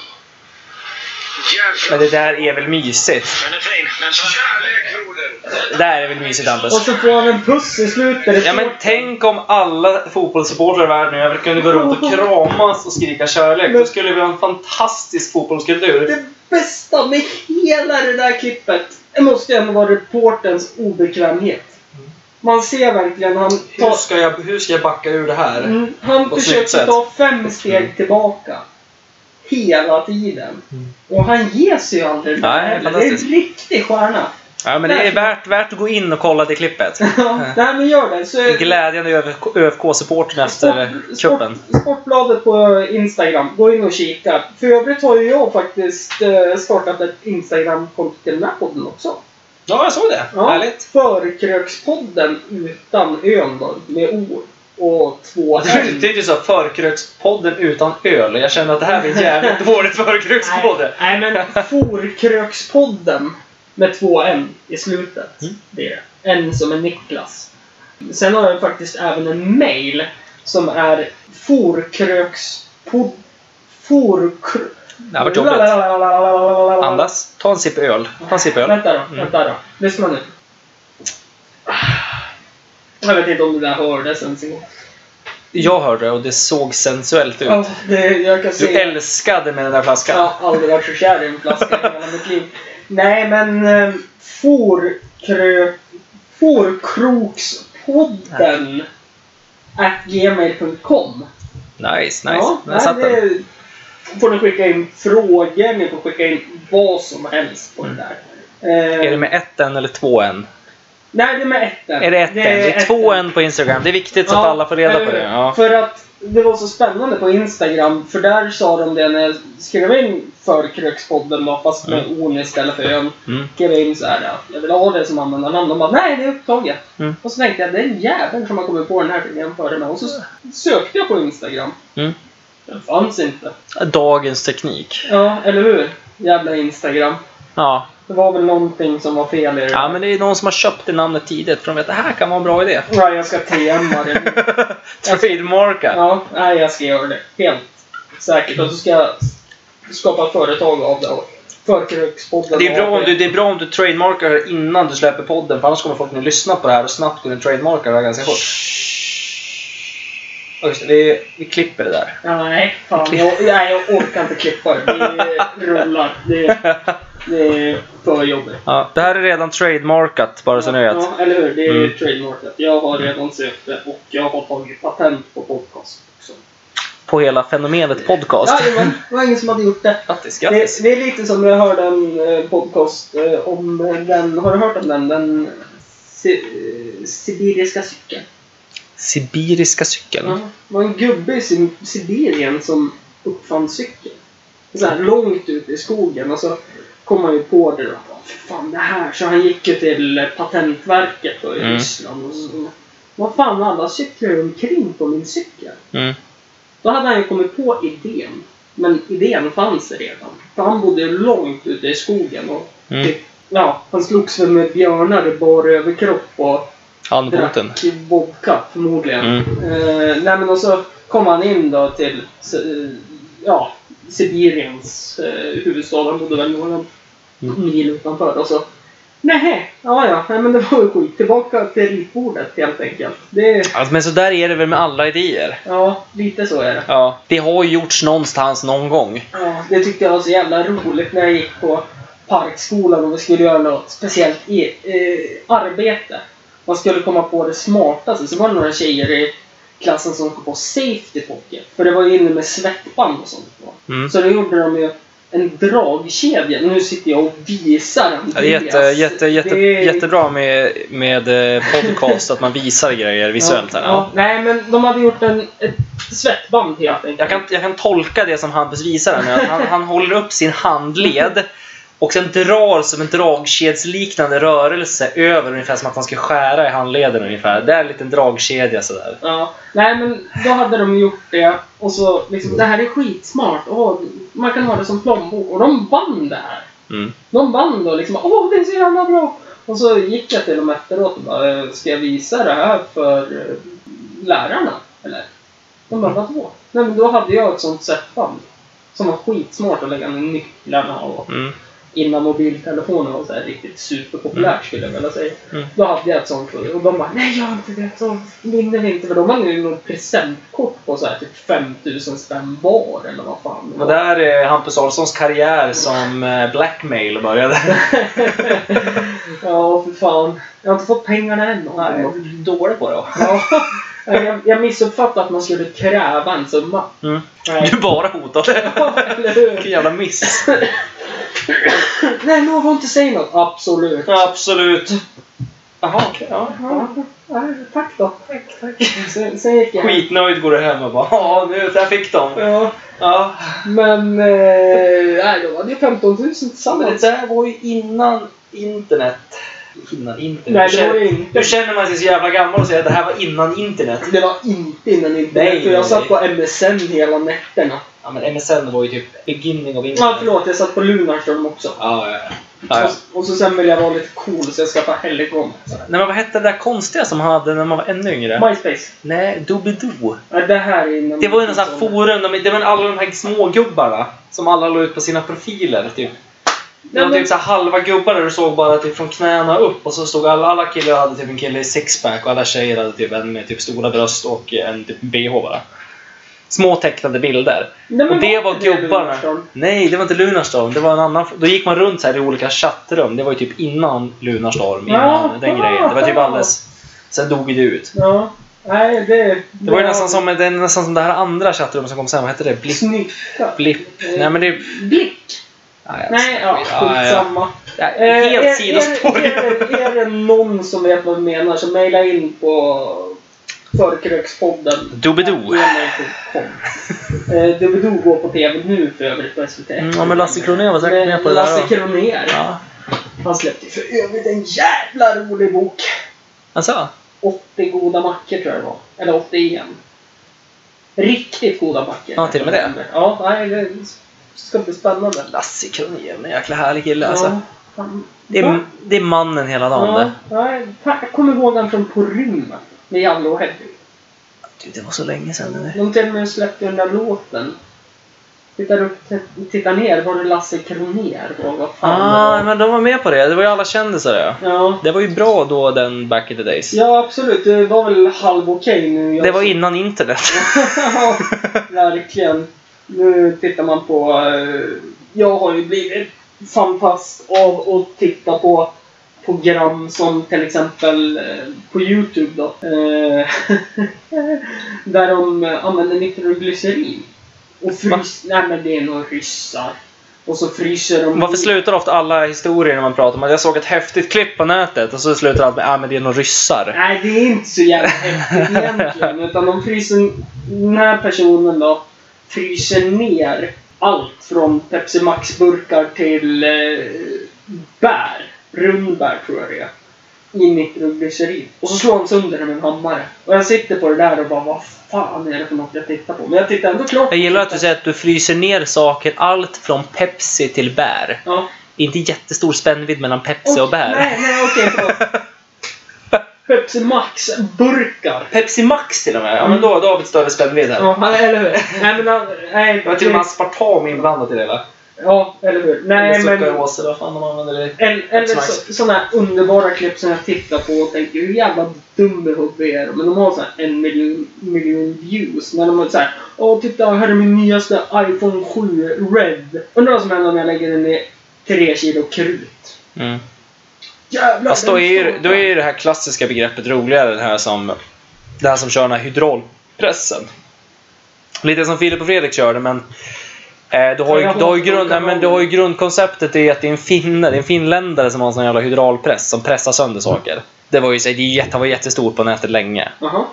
[SPEAKER 3] Men
[SPEAKER 5] Jävlar.
[SPEAKER 3] det där är väl mysigt?
[SPEAKER 5] Den är fin. Kärlek, broder.
[SPEAKER 3] Det där är väl mysigt Hampus?
[SPEAKER 2] Och så får han en puss i slutet.
[SPEAKER 3] Ja men tänk om alla fotbollssupportrar i världen över kunde gå runt och kramas och skrika kärlek. Då skulle vi ha en fantastisk fotbollskultur.
[SPEAKER 2] Det bästa med hela det där klippet det måste ändå vara reporterns obekvämhet. Man ser verkligen han
[SPEAKER 4] Hur
[SPEAKER 2] tar...
[SPEAKER 4] ska, jag, hur ska jag backa ur det här?
[SPEAKER 2] Mm, Han
[SPEAKER 3] På snyggt
[SPEAKER 2] försöker
[SPEAKER 3] sätt. Mm.
[SPEAKER 2] ta fem steg tillbaka. Hela tiden. Och han ger sig ju aldrig.
[SPEAKER 3] Nej,
[SPEAKER 2] heller. det är en
[SPEAKER 3] fantastiskt.
[SPEAKER 2] riktig stjärna.
[SPEAKER 3] Ja men det är värt, värt att gå in och kolla det klippet.
[SPEAKER 2] Ja, nej men gör det. Så
[SPEAKER 3] Glädjen i ÖFK-supporten efter
[SPEAKER 2] Sport-
[SPEAKER 3] cupen.
[SPEAKER 2] Sport, sportbladet på Instagram. Gå in och kika. För övrigt har ju jag faktiskt eh, startat ett Instagram-konto till den här podden också.
[SPEAKER 4] Ja, jag såg det.
[SPEAKER 2] Ja.
[SPEAKER 4] Härligt.
[SPEAKER 2] Förkrökspodden utan ön då, med O och två
[SPEAKER 3] Det är ju så förkrökspodden utan öl. Jag känner att det här blir en jävligt dåligt förkrökspodd.
[SPEAKER 2] Nej, nej men Forkrökspodden med två N i slutet.
[SPEAKER 3] Mm.
[SPEAKER 2] Det är det. N som är Niklas. Sen har jag faktiskt även en mail som är forkrökspodd... Forkrö...
[SPEAKER 3] Det har varit jobbigt.
[SPEAKER 2] jobbigt.
[SPEAKER 3] Andas. Ta en sipp öl. Ta en sipp öl.
[SPEAKER 2] Vänta då, vänta då. Lyssna nu. Jag vet inte om det där hördes ens en gång.
[SPEAKER 3] Jag hörde det och det såg sensuellt ut.
[SPEAKER 2] Ja, det, jag kan
[SPEAKER 3] Du
[SPEAKER 2] säga.
[SPEAKER 3] älskade med den där
[SPEAKER 2] Jag
[SPEAKER 3] flaskan.
[SPEAKER 2] har aldrig varit så kär i en flaska i hela mitt liv. Nej, men eh, forkrö... Fårkrokspodden at gmail.com.
[SPEAKER 3] Nice, nice. Där
[SPEAKER 2] nej,
[SPEAKER 3] satt den.
[SPEAKER 2] det får ni skicka in frågor, ni får skicka in vad som helst på det där. Eh,
[SPEAKER 3] Mm. Är det med ett N eller två N?
[SPEAKER 2] Nej, det är med ett N.
[SPEAKER 3] Är det ett N? Det är två N på Instagram. Det är viktigt så att alla får reda på det. Ja.
[SPEAKER 2] För att det var så spännande på Instagram, för där sa de det när jag skrev in för Krökspodden, va, fast med on istället för ön.
[SPEAKER 3] Mm.
[SPEAKER 2] Skrev in så här, ja, jag vill ha det som användarnamn. De bara, nej det är upptaget.
[SPEAKER 3] Mm.
[SPEAKER 2] Och så tänkte jag, det är en jävel som har kommit på den här idén före mig. Och så sökte jag på Instagram.
[SPEAKER 3] Mm.
[SPEAKER 2] Eh, Den fanns inte.
[SPEAKER 3] Dagens teknik.
[SPEAKER 2] Ja, eller hur? Jävla Instagram.
[SPEAKER 3] Ja.
[SPEAKER 2] Det var väl någonting som var fel i det.
[SPEAKER 3] ja, men det är någon som har köpt det namnet tidigt för de vet att det här kan vara en bra idé.
[SPEAKER 2] Ja, jag ska TMa det.
[SPEAKER 3] Trademarka.
[SPEAKER 2] Ja, nej, jag ska göra det. Helt säkert. Och så ska jag skapa ett företag av det. Förkrökspodden.
[SPEAKER 4] Det är, bra om du, det är bra om du trademarkar innan du släpper podden för annars kommer folk nu lyssna på det här och snabbt kunna trademarka det här ganska fort. Ja, just det, vi, vi klipper det där.
[SPEAKER 2] Nej, fan. Jag, nej, jag orkar inte klippa det. Det rullar. Det, det är för jobbigt.
[SPEAKER 3] Ja, det här är redan trademarkat, bara så ni vet.
[SPEAKER 2] Ja, eller hur? Det är
[SPEAKER 3] Mm.
[SPEAKER 2] trademarket. Jag har redan sökt det och jag har tagit patent på podcast också.
[SPEAKER 3] På hela fenomenet podcast.
[SPEAKER 2] Jajamän, det var ingen som hade gjort det.
[SPEAKER 3] Grattis,
[SPEAKER 2] Det,
[SPEAKER 3] grattis.
[SPEAKER 2] det är lite som jag hörde en eh, podcast eh, om eh, den, har du hört om den? Den si, eh, sibiriska cykeln.
[SPEAKER 3] Sibiriska cykeln.
[SPEAKER 2] Ja, det var en gubbe i Sim- Sibirien som uppfann cykeln. Så här långt ut i skogen och så kom han ju på det då. Bara, "Fy Fan det här. Så han gick ju till eh, Patentverket då, i
[SPEAKER 3] Mm.
[SPEAKER 2] Ryssland och så. Vad fan alla cyklar omkring på min cykel?
[SPEAKER 3] Mm.
[SPEAKER 2] Då hade han ju kommit på idén. Men idén fanns redan. För han bodde ju långt ute i skogen och
[SPEAKER 3] Mm.
[SPEAKER 2] typ, ja, han slogs väl med björnar i bar överkropp och
[SPEAKER 3] Handboten.
[SPEAKER 2] drack vodka förmodligen.
[SPEAKER 3] Mm.
[SPEAKER 2] Eh, nej men och så kom han in då till eh, ja, Sibiriens eh, huvudstad. Han bodde väl några mil utanför. Och så, nej, ja ja, nej, men det var ju skit. Tillbaka till ritbordet helt enkelt. Det,
[SPEAKER 3] Alltså, men så där är det väl med alla idéer.
[SPEAKER 2] ja, lite så är det.
[SPEAKER 3] Ja. Det har ju gjorts någonstans någon gång.
[SPEAKER 2] Ja, det tyckte jag var så jävla roligt när jag gick på parkskolan och vi skulle göra något speciellt i, eh, arbete. Man skulle komma på det smartaste. Så var det några tjejer i klassen som kom på safety pocket. För det var ju inne med svettband och sånt. På.
[SPEAKER 3] Mm.
[SPEAKER 2] Så då gjorde de ju en dragkedja. Nu sitter jag och visar
[SPEAKER 3] Ja,
[SPEAKER 2] Andreas.
[SPEAKER 3] det är jätte, jätte, jätte,
[SPEAKER 2] Det är-
[SPEAKER 3] Jättebra med, med eh, podcast, att man visar grejer visuellt. Här.
[SPEAKER 2] Ja, ja.
[SPEAKER 3] Ja.
[SPEAKER 2] Nej, men de hade gjort en, ett svettband helt enkelt.
[SPEAKER 3] Jag, kan, jag kan tolka det som Hampus visar här nu. att Han, han håller upp sin handled och sen drar som en dragkedsliknande rörelse över ungefär som att han ska skära i handleden ungefär. Det är en liten dragkedja sådär.
[SPEAKER 2] Ja, nej men då hade de gjort det och så liksom, det här är skitsmart. Åh, man kan ha det som plånbok. Och de vann det här.
[SPEAKER 3] Mm.
[SPEAKER 2] De vann då liksom, åh det är så jävla bra! Och så gick jag till dem efteråt och bara, "Eh, ska jag visa det här för eh, lärarna? Eller? De bara, vadå? Nej men då hade jag ett sånt sättband. Som var skitsmart att lägga ner nycklarna och
[SPEAKER 3] Mm.
[SPEAKER 2] innan mobiltelefonen var så här riktigt superpopulärt skulle jag vilja säga.
[SPEAKER 3] Mm.
[SPEAKER 2] Då hade jag ett sånt och de bara nej jag har inte det, så vinner inte. För de hade ju något presentkort på så här typ 5000 spänn var eller vad fan det
[SPEAKER 4] Och
[SPEAKER 2] var.
[SPEAKER 4] där är Hampus Ahlssons karriär som eh, blackmail började.
[SPEAKER 2] Ja, för fan. Jag har inte fått pengarna än.
[SPEAKER 4] Nej, jag är dålig på det. va?
[SPEAKER 2] Ja. Jag, jag missuppfattade att man skulle kräva en summa.
[SPEAKER 3] Mm.
[SPEAKER 2] Nej.
[SPEAKER 3] Du bara hotade.
[SPEAKER 2] Eller hur?
[SPEAKER 4] Vilken jävla miss.
[SPEAKER 2] Nej, någon får inte säga något. Absolut.
[SPEAKER 4] Absolut. Jaha, okej. ja, ja.
[SPEAKER 2] Ja, ja, tack då. Tack, tack. Sen, sen gick jag hem.
[SPEAKER 4] Skitnöjd går du hem och bara ja, nu, där fick de.
[SPEAKER 2] Ja.
[SPEAKER 4] Ja.
[SPEAKER 2] Men, eh, nej, de hade ju 15 000
[SPEAKER 4] Men det
[SPEAKER 2] tillsammans.
[SPEAKER 4] där var ju innan internet. Innan internet.
[SPEAKER 2] Nej,
[SPEAKER 4] Hur
[SPEAKER 2] det var
[SPEAKER 4] känner-
[SPEAKER 2] det inte.
[SPEAKER 4] Hur känner man sig så jävla gammal och säger att det här var innan internet?
[SPEAKER 2] Det var inte innan internet,
[SPEAKER 4] Nej,
[SPEAKER 2] för jag
[SPEAKER 4] nej.
[SPEAKER 2] satt på MSN hela nätterna.
[SPEAKER 4] Ja, men MSN var ju typ beginning av internet.
[SPEAKER 2] Ja, förlåt, jag satt på Lunarstorm också.
[SPEAKER 4] Ja, ja, ja.
[SPEAKER 3] Ja, ja.
[SPEAKER 2] Och, och så sen ville jag vara lite cool, så jag skaffade Helicon.
[SPEAKER 3] Nej, men vad hette det där konstiga som han hade när man var ännu yngre?
[SPEAKER 2] MySpace.
[SPEAKER 3] Nej, Doobidoo.
[SPEAKER 2] Ja, det här är innan...
[SPEAKER 4] Det var ju någon sån här forum, de, det var alla de här smågubbarna som alla la ut på sina profiler. Typ. Det
[SPEAKER 2] Nej,
[SPEAKER 4] var
[SPEAKER 2] men-
[SPEAKER 4] typ så här halva gubbar där du såg bara typ från knäna upp och så stod alla, alla killar hade typ en kille i sixpack och alla tjejer hade typ en med typ stora bröst och en typ bh bara. Små tecknade bilder.
[SPEAKER 2] Nej, men
[SPEAKER 4] och det var gubbarna.
[SPEAKER 2] Lunarstorm?
[SPEAKER 4] Nej, det var inte Lunarstorm. Det var en annan. Då gick man runt så här i olika chattrum. Det var ju typ innan Lunarstorm, innan
[SPEAKER 2] Ja,
[SPEAKER 4] den
[SPEAKER 2] ja,
[SPEAKER 4] grejen. Det var typ
[SPEAKER 2] ja.
[SPEAKER 4] alldeles... Sen dog det ut.
[SPEAKER 2] Ja. Nej, det...
[SPEAKER 4] Det var ju nästan som, det är nästan som det här andra chattrummet som kom sen. Vad hette det? Blipp?
[SPEAKER 2] Snyfta.
[SPEAKER 4] Blipp? Nej men det... är-
[SPEAKER 2] Blick!
[SPEAKER 4] Nej, jag
[SPEAKER 2] Nej, ja,
[SPEAKER 4] Ja, ja.
[SPEAKER 2] skitsamma.
[SPEAKER 4] Ja,
[SPEAKER 2] Eh, är-
[SPEAKER 4] Helt sidospår.
[SPEAKER 2] Är, är, är, är det någon som vet vad vi menar så mejla in på förkrökspodden.
[SPEAKER 3] Doobidoo.
[SPEAKER 2] gmail.com. Eh, Doobidoo går på TV nu för övrigt på SVT.
[SPEAKER 3] Mm, ja, men Lasse Kronér var säkert
[SPEAKER 2] Men
[SPEAKER 3] med på det där.
[SPEAKER 2] Lasse
[SPEAKER 3] då.
[SPEAKER 2] Kronér.
[SPEAKER 3] Ja.
[SPEAKER 2] Han släppte för övrigt en jävla rolig bok.
[SPEAKER 3] Alltså?
[SPEAKER 2] 80 goda mackor tror jag det var. Eller 81. Riktigt goda backar.
[SPEAKER 3] Ja, till och med det.
[SPEAKER 2] Ja, nej, det ska bli spännande.
[SPEAKER 3] Lasse Kronér, en jäkla härlig kille alltså.
[SPEAKER 2] Ja, fan.
[SPEAKER 3] Det är, det är mannen hela dagen
[SPEAKER 2] Ja,
[SPEAKER 3] det.
[SPEAKER 2] nej, fan, jag kommer ihåg han från På rymmen med Jalle och Hedvig.
[SPEAKER 3] Du, det var så länge sedan. Det.
[SPEAKER 2] De till och med släppte den där låten. Tittar, upp, t- tittar ner, var det Lasse Kronér? Och vad fan
[SPEAKER 3] Ah,
[SPEAKER 2] det var.
[SPEAKER 3] men de var med på det. Det var ju alla kändisar det.
[SPEAKER 2] Ja.
[SPEAKER 3] Det var ju bra då den back in the days.
[SPEAKER 2] ja, absolut. Det var väl halv okej nu. Jag
[SPEAKER 3] Det var innan internet.
[SPEAKER 2] Ja, verkligen. Nu tittar man på... eh, Jag har ju blivit fantast av att titta på program som till exempel eh, på Youtube då. Eh, Där de eh, använder nitroglycerin. Och frys... Nej men det är nog ryssar. Och så fryser de...
[SPEAKER 3] Varför slutar ofta alla historier när man pratar om att jag såg ett häftigt klipp på nätet och så slutar allt med ah, men det är nog ryssar.
[SPEAKER 2] Nej, det är inte så jävla häftigt egentligen. Utan de fryser... Den här personen då fryser ner allt från Pepsi Max-burkar till eh, bär. Rundbär tror jag det är. I nitroglycerin. Och så slår han sönder det med en hammare. Och jag sitter på det där och bara vad fan är det för något jag tittar på? Men jag tittar ändå klart.
[SPEAKER 3] Jag gillar att du säger att du fryser ner saker, allt från Pepsi till bär.
[SPEAKER 2] Ja.
[SPEAKER 3] Inte jättestor spännvidd mellan Pepsi och bär.
[SPEAKER 2] Nej, nej okej förlåt. Pepsi Max-burkar.
[SPEAKER 3] Pepsi Max till och med. Ja, men då, då har vi ett större spännvidd här.
[SPEAKER 2] Ja, eller hur? Nej, men... han- Nej,
[SPEAKER 3] Det var till och med aspartam inblandat i det där.
[SPEAKER 2] Ja, eller hur? Nej,
[SPEAKER 3] Eller
[SPEAKER 2] men...
[SPEAKER 3] suckaråser, vad fan de använder det
[SPEAKER 2] Eller, eller så, såna här underbara klipp som jag tittar på och tänker hur jävla dum i huvudet är de? Men de har så här en miljon, miljon views. När de har så här Åh titta här är min nyaste iPhone 7 Red. Undrar vad som händer om jag lägger den i tre kilo krut.
[SPEAKER 3] Mm.
[SPEAKER 2] Jävlar!
[SPEAKER 3] Fast då
[SPEAKER 2] den
[SPEAKER 3] är, ju,
[SPEAKER 2] startar.
[SPEAKER 3] då är ju det här klassiska begreppet roligare. Det här som, det här som kör den här hydraulpressen. Lite som Filip och Fredrik körde, men eh, du, har ju, du, har ju grund, nej, men du har ju grundkonceptet är att det är en finne, det är en finländare som har en sån jävla hydraulpress som pressar sönder saker. Det var ju så, det är jätte, han var jättestort på nätet länge.
[SPEAKER 2] Jaha.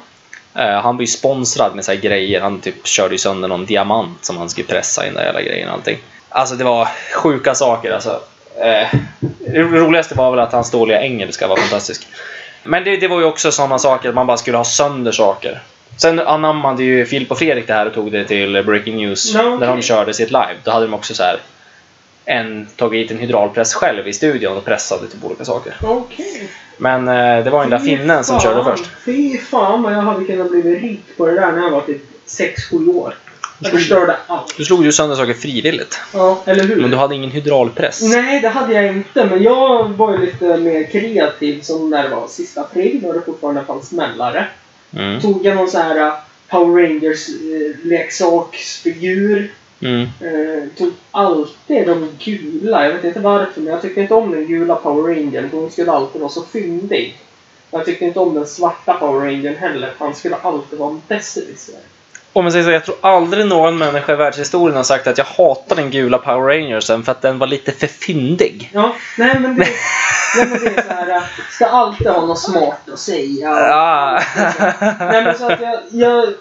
[SPEAKER 3] Eh, han var ju sponsrad med så här grejer. Han typ körde ju sönder någon diamant som han skulle pressa i den där jävla grejen och allting. Alltså det var sjuka saker alltså. Eh, det roligaste var väl att hans dåliga engelska var fantastisk. Men det, det var ju också sådana saker att man bara skulle ha sönder saker. Sen anammade ju Filip och Fredrik det här och tog det till Breaking News
[SPEAKER 2] Ja, okej.
[SPEAKER 3] där de körde sitt live. Då hade de också så här en, tagit hit en hydraulpress själv i studion och pressade typ olika saker.
[SPEAKER 2] Okej.
[SPEAKER 3] Men eh, det var ju den där finnen som
[SPEAKER 2] Fy
[SPEAKER 3] körde
[SPEAKER 2] fan.
[SPEAKER 3] först.
[SPEAKER 2] Fy fan vad jag hade kunnat bli rik på det där när jag var typ 6-7 år. Jag förstörde allt.
[SPEAKER 3] Du slog ju sönder saker frivilligt.
[SPEAKER 2] Ja, eller hur?
[SPEAKER 3] Men du hade ingen hydraulpress?
[SPEAKER 2] Nej, det hade jag inte. Men jag var ju lite mer kreativ som när det var sista april och det fortfarande fanns smällare.
[SPEAKER 3] Mm.
[SPEAKER 2] Tog jag någon så här eh, Power Rangers-leksaksfigur.
[SPEAKER 3] Mm.
[SPEAKER 2] Eh, tog alltid de gula. Jag vet inte varför, men jag tyckte inte om den gula Power Rangern. för Hon skulle alltid vara så fyndig. Jag tyckte inte om den svarta Power Rangern heller. för Han skulle alltid vara en besserwisser.
[SPEAKER 3] Om man säger så, jag tror aldrig någon människa i världshistorien har sagt att jag hatar den gula Power Rangersen för att den var lite för fyndig.
[SPEAKER 2] Ja, nej men det, nej, men det är så här. eh, Ska alltid ha något smart att säga.
[SPEAKER 3] Ah.
[SPEAKER 2] Nej men så att jag, jag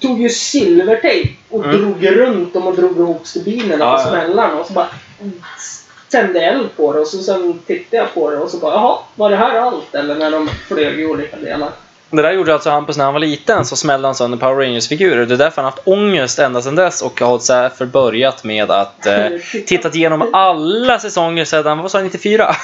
[SPEAKER 2] tog ju silvertejp och
[SPEAKER 3] Mm.
[SPEAKER 2] drog runt dem och drog ihop stubinerna
[SPEAKER 3] Ja,
[SPEAKER 2] på
[SPEAKER 3] ja.
[SPEAKER 2] smällarna och så bara tände eld på det och så sen tittade jag på det och så bara jaha, var det här allt? Eller när de flög i olika delar.
[SPEAKER 3] Det där gjorde alltså Hampus när han var liten, så smällde han sönder Power Rangers-figurer. Det är därför han haft ångest ända sedan dess och har så här förbörjat med att eh, tittat igenom alla säsonger sedan, vad sa han, 94?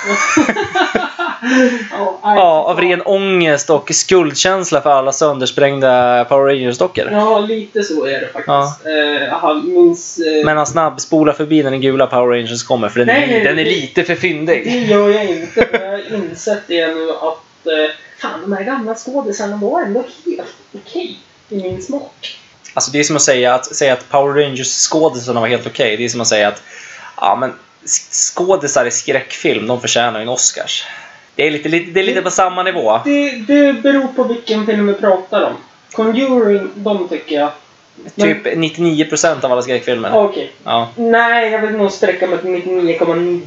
[SPEAKER 2] Ja,
[SPEAKER 3] Ja, av ren ångest och skuldkänsla för alla söndersprängda Power Rangers-dockor.
[SPEAKER 2] Ja, lite så är det faktiskt. Eh, han minns... Eh,
[SPEAKER 3] Men han snabbspolar förbi när den gula Power Rangers kommer för den,
[SPEAKER 2] Nej, nej,
[SPEAKER 3] den är
[SPEAKER 2] det-
[SPEAKER 3] lite för
[SPEAKER 2] det
[SPEAKER 3] fyndig.
[SPEAKER 2] gör jag inte. för Jag har insett det nu att eh, fan, de här gamla skådisarna var ändå helt okej i min smak.
[SPEAKER 3] Alltså det är som att säga att, säga att Power Rangers skådisarna var helt okej. Det är som att säga att ja, men sk- skådisar i skräckfilm, de förtjänar ju en Oscars. Det är lite, lite, det är lite på samma nivå.
[SPEAKER 2] Det, det beror på vilken film vi pratar om. Conjuring, de tycker jag... men-
[SPEAKER 3] Typ 99% av alla skräckfilmer.
[SPEAKER 2] Okej.
[SPEAKER 3] Ja.
[SPEAKER 2] Nej, jag vill nog sträcka mig till 99,9.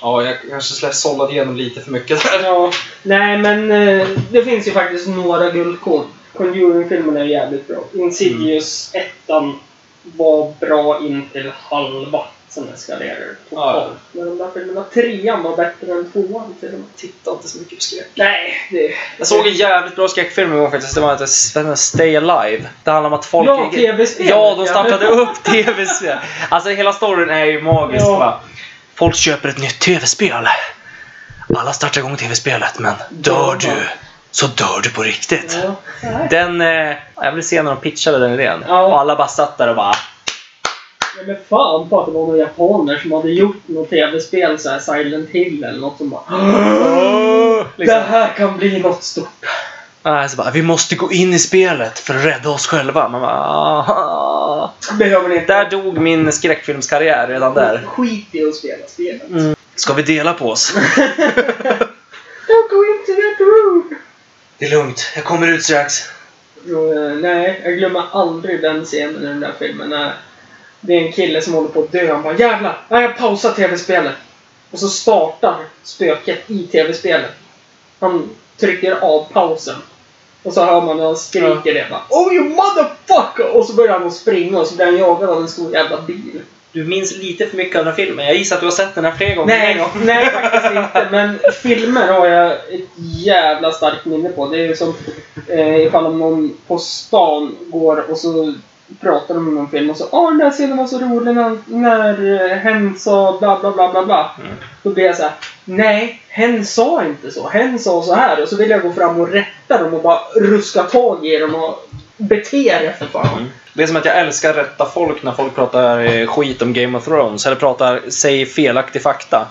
[SPEAKER 3] ja, jag kanske sållade igenom lite för mycket där.
[SPEAKER 2] Ja. Nej, men eh, det finns ju faktiskt några guldkorn. Conjuring-filmerna är jävligt bra. Insidious, ettan, var bra in till halva. som eskalerar totalt. Men de där filmerna, trean var bättre än tvåan till och med.
[SPEAKER 3] Tittar inte så mycket på skräck.
[SPEAKER 2] Nej, det...
[SPEAKER 3] Jag såg en jävligt bra skräckfilm en gång faktiskt. Det var inte Stay Alive. Det handlar om att folk...
[SPEAKER 2] Ja, tv-spel.
[SPEAKER 3] Ja, de stapplade upp tv-spel. Alltså hela storyn är ju magisk.
[SPEAKER 2] Ja.
[SPEAKER 3] va. Folk köper ett nytt tv-spel. Alla startar igång tv-spelet men dör du så dör du på riktigt.
[SPEAKER 2] Ja. Nej,
[SPEAKER 3] Den... Eh, jag vill se när de pitchade den idén.
[SPEAKER 2] Ja.
[SPEAKER 3] Och alla bara satt där och bara...
[SPEAKER 2] Nej, men fan på att det var några japaner som hade gjort något tv-spel, så här Silent Hill eller något som bara...
[SPEAKER 3] Liksom.
[SPEAKER 2] Det här kan bli något stort.
[SPEAKER 3] Nej, så bara, vi måste gå in i spelet för att rädda oss själva. Man bara, "Ah."
[SPEAKER 2] Behöver ni inte.
[SPEAKER 3] Där dog min skräckfilmskarriär redan där.
[SPEAKER 2] Skit i att spela spelet.
[SPEAKER 3] Ska vi dela på oss?
[SPEAKER 2] Don't go into that room!
[SPEAKER 3] Det är lugnt, jag kommer ut strax.
[SPEAKER 2] Jo, eh, nej, jag glömmer aldrig den scenen i den där filmen när det är en kille som håller på att dö. Han bara jävlar, nej, jag pausar tv-spelet. Och så startar spöket i tv-spelet. Han trycker av pausen. Och så hör man när han skriker det bara Oh you motherfucker! Och så börjar han att springa och så blir han jagad av en stor jävla bil.
[SPEAKER 3] Du minns lite för mycket av den här filmen. Jag gissar att du har sett den här fler gånger.
[SPEAKER 2] Nej, nej faktiskt inte. Men filmer har jag ett jävla starkt minne på. Det är ju som eh, ifall om någon på stan går och så pratar de om någon film och så Åh, den där scenen var så rolig när, när eh, hen sa bla bla bla bla bla.
[SPEAKER 3] Mm.
[SPEAKER 2] Då blir jag så här. Nej, hen sa inte så. Hen sa så här. Och så vill jag gå fram och rätta dem och bara ruska tag i dem och bete er för fan.
[SPEAKER 3] Det är som att jag älskar att rätta folk när folk pratar eh, skit om Game of Thrones. Eller pratar, säger felaktig fakta.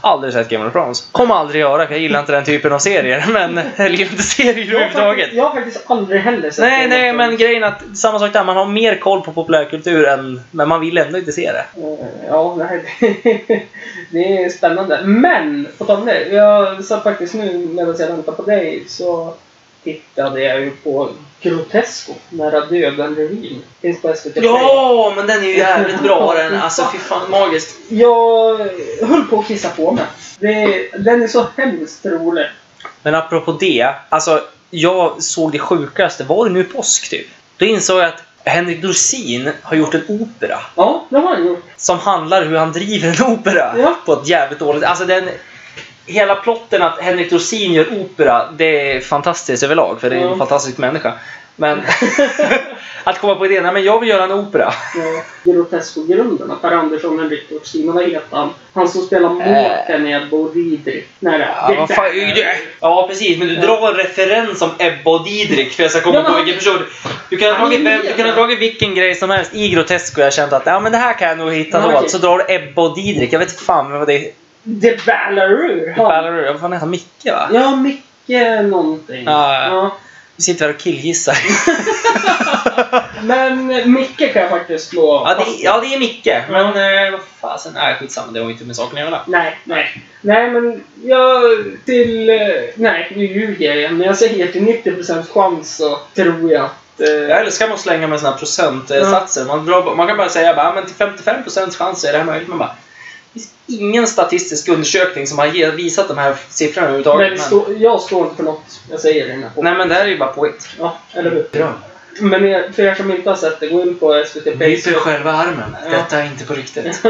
[SPEAKER 3] Aldrig sett Game of Thrones. Kommer aldrig göra, för jag gillar inte den typen av serier. Men, eller gillar inte serier
[SPEAKER 2] Jag har,
[SPEAKER 3] överhuvudtaget.
[SPEAKER 2] faktiskt, jag har faktiskt aldrig heller sett
[SPEAKER 3] Nej,
[SPEAKER 2] den
[SPEAKER 3] nej,
[SPEAKER 2] filmen.
[SPEAKER 3] men grejen är att samma sak där. Man har mer koll på populärkultur än... Men man vill ändå inte se det.
[SPEAKER 2] Eh, Ja, nej, det- det är spännande. Men, på tal om det. Jag satt faktiskt nu medan jag väntade på dig så tittade jag ju på Grotesco, Nära döden-revyn. Finns på SVT Play.
[SPEAKER 3] Ja, men den är ju jävligt bra den. Alltså fy fan, magiskt.
[SPEAKER 2] Jag höll på att kissa på mig. Det, den är så hemskt rolig.
[SPEAKER 3] Men apropå det, alltså jag såg det sjukaste, var det nu påsk typ? Då insåg jag att Henrik Dorsin har gjort en opera
[SPEAKER 2] Ja, det har han gjort.
[SPEAKER 3] som handlar hur han driver en opera
[SPEAKER 2] Ja.
[SPEAKER 3] på ett jävligt dåligt... Alltså den... Hela plotten att Henrik Dorsin gör opera, det är fantastiskt överlag för det är en
[SPEAKER 2] Ja.
[SPEAKER 3] fantastisk människa. Men att komma på idén, nej men jag vill göra en opera.
[SPEAKER 2] Ja, Grotesco-grundarna. Per Andersson, Henrik Dorsin, vad heter han? Han som spelar Mårten i Ebba och Didrik. Nej, det,
[SPEAKER 3] Ja, vad fan, ja precis, men du drar en referens om Ebba och Didrik för jag ska komma
[SPEAKER 2] Ja, men
[SPEAKER 3] på
[SPEAKER 2] han-
[SPEAKER 3] vilken person. Du kan, ha
[SPEAKER 2] Han är
[SPEAKER 3] dragit, vem-
[SPEAKER 2] med.
[SPEAKER 3] du kan ha dragit vilken grej som helst i Grotesco och jag kände att ja, men det här kan jag nog hitta
[SPEAKER 2] Ja,
[SPEAKER 3] då.
[SPEAKER 2] okej.
[SPEAKER 3] Så drar du Ebba och Didrik, jag vet inte fan vad det är.
[SPEAKER 2] The Ballarur! han.
[SPEAKER 3] Ballarur, vad fan heter han? Micke va?
[SPEAKER 2] Ja, Micke någonting.
[SPEAKER 3] Ja, ja. Du sitter här och killgissar.
[SPEAKER 2] Ja. Men eh, Micke kan jag faktiskt slå
[SPEAKER 3] ja, det,
[SPEAKER 2] fast.
[SPEAKER 3] är- ja, det är Micke. Men eh, vad fasen, nej skitsamma, det har ju inte med saken att göra.
[SPEAKER 2] Nej, nej. Nej, men jag till... eh, Nej, nu ljuger jag igen. Men jag säger till 90% chans så tror jag att... Eh,
[SPEAKER 3] Jag älskar att slänga med såna här procentsatser. Man, drar, man kan bara säga bara, "Ja, men till 55 chans är det här möjligt. Man bara, det finns ingen statistisk undersökning som har ge- visat de här siffrorna överhuvudtaget.
[SPEAKER 2] men stå, jag står inte för något jag säger i den här
[SPEAKER 3] Nej men det här är ju bara påhitt.
[SPEAKER 2] Ja, eller hur? Men er- för er som inte har sett det, gå in på SVT Play.
[SPEAKER 3] Nyper själva armen.
[SPEAKER 2] Ja.
[SPEAKER 3] Detta är inte på riktigt.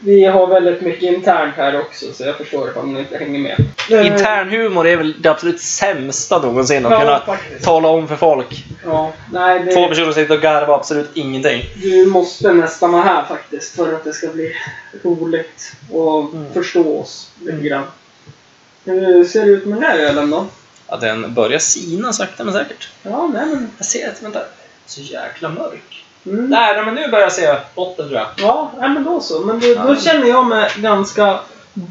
[SPEAKER 2] Vi har väldigt mycket internt här också, så jag förstår om ni inte hänger med.
[SPEAKER 3] Internhumor är väl det absolut sämsta någonsin att
[SPEAKER 2] Eh. Ja,
[SPEAKER 3] kunna
[SPEAKER 2] faktiskt.
[SPEAKER 3] tala om för folk.
[SPEAKER 2] Ja, nej, det...
[SPEAKER 3] Två personer sitter och garvar absolut ingenting.
[SPEAKER 2] Du måste nästan vara här faktiskt för att det ska bli roligt och förstå oss lite grann. Hur ser det ut med den här ölen då?
[SPEAKER 3] Ja, den börjar sina sakta men säkert.
[SPEAKER 2] Ja, nej men...
[SPEAKER 3] Jag ser att, vänta. Så jäkla mörk.
[SPEAKER 2] Mm.
[SPEAKER 3] Nej, nej, men nu börjar jag se botten tror jag.
[SPEAKER 2] Ja, nej, men då så. Men då, då känner jag mig ganska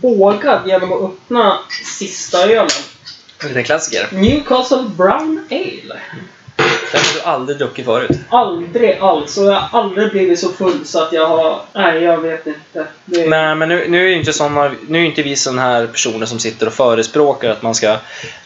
[SPEAKER 2] vågad genom att öppna sista ölen.
[SPEAKER 3] En liten klassiker.
[SPEAKER 2] Newcastle Brown Ale.
[SPEAKER 3] Den har du aldrig druckit förut.
[SPEAKER 2] Aldrig alls. Och jag har aldrig blivit så full så att jag har... Nej, jag vet inte. Det...
[SPEAKER 3] Nej, men nu, nu är ju inte, såna, nu är ju inte vi såna här personer som sitter och förespråkar att man ska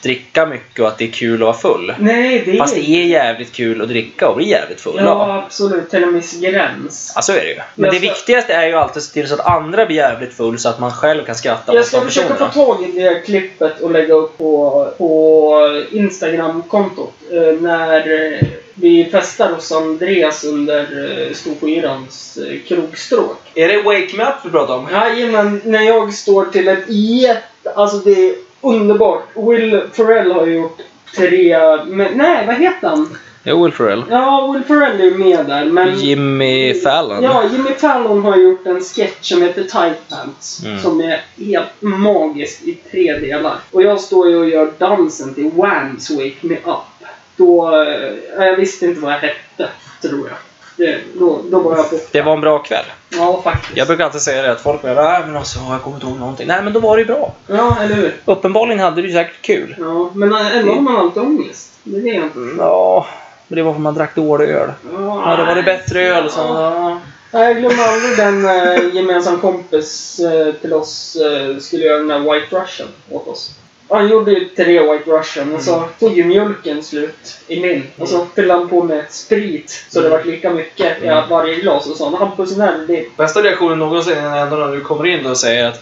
[SPEAKER 3] dricka mycket och att det är kul att vara full.
[SPEAKER 2] Nej, det är...
[SPEAKER 3] Fast det är jävligt kul att dricka och bli jävligt full.
[SPEAKER 2] Ja, absolut. Till en viss gräns.
[SPEAKER 3] Ja, så är det ju. Men
[SPEAKER 2] Jag
[SPEAKER 3] det
[SPEAKER 2] ska-
[SPEAKER 3] viktigaste är ju alltid att se till så att andra blir jävligt full så att man själv kan skratta
[SPEAKER 2] Jag
[SPEAKER 3] åt de
[SPEAKER 2] ska försöka få
[SPEAKER 3] personerna.
[SPEAKER 2] tag i det här klippet och lägga upp på, på Instagram-kontot eh, när eh, Vi festar hos Andreas under eh, Storsjöyranns eh, krogstråk.
[SPEAKER 3] Är det Wake Me Up vi pratar om?
[SPEAKER 2] Jajamän, när jag står till ett jätte... Alltså det är underbart. Will Ferrell har gjort tre... Men, nej, vad heter han?
[SPEAKER 3] Jo, Will Ferrell.
[SPEAKER 2] Ja, Will Ferrell är ju med där, men...
[SPEAKER 3] Jimmy Fallon.
[SPEAKER 2] Mm. Ja, Jimmy Fallon har gjort en sketch som heter Tight Pants.
[SPEAKER 3] Mm.
[SPEAKER 2] Som är helt magisk i tre delar. Och jag står ju och gör dansen till Whams Wake Me Up. Då... eh, Jag visste inte vad jag hette, tror jag. Det, då, då var jag borta.
[SPEAKER 3] Det var en bra kväll.
[SPEAKER 2] Ja, faktiskt.
[SPEAKER 3] Jag brukar alltid säga det att folk bara Nej men alltså jag kommer inte ihåg någonting. Nej men då var det ju bra.
[SPEAKER 2] Ja, eller hur?
[SPEAKER 3] Uppenbarligen hade du säkert kul.
[SPEAKER 2] Ja, men eh, ändå har man alltid ångest. Det är det jag inte
[SPEAKER 3] Ja, men det var för man drack dålig öl. Ja, det var det bättre öl som...
[SPEAKER 2] Ja. Nej, Jag glömmer aldrig den eh, gemensam kompis eh, till oss eh, skulle göra den där White Russian åt oss. Han gjorde ju tre White Russian och
[SPEAKER 3] Mm.
[SPEAKER 2] så tog ju mjölken slut i min. Och så fyllde han på med sprit så det
[SPEAKER 3] Mm.
[SPEAKER 2] var lika mycket i varje glas och så. Hampus, den här, det...
[SPEAKER 3] Bästa reaktionen någonsin är ändå när du kommer in och säger att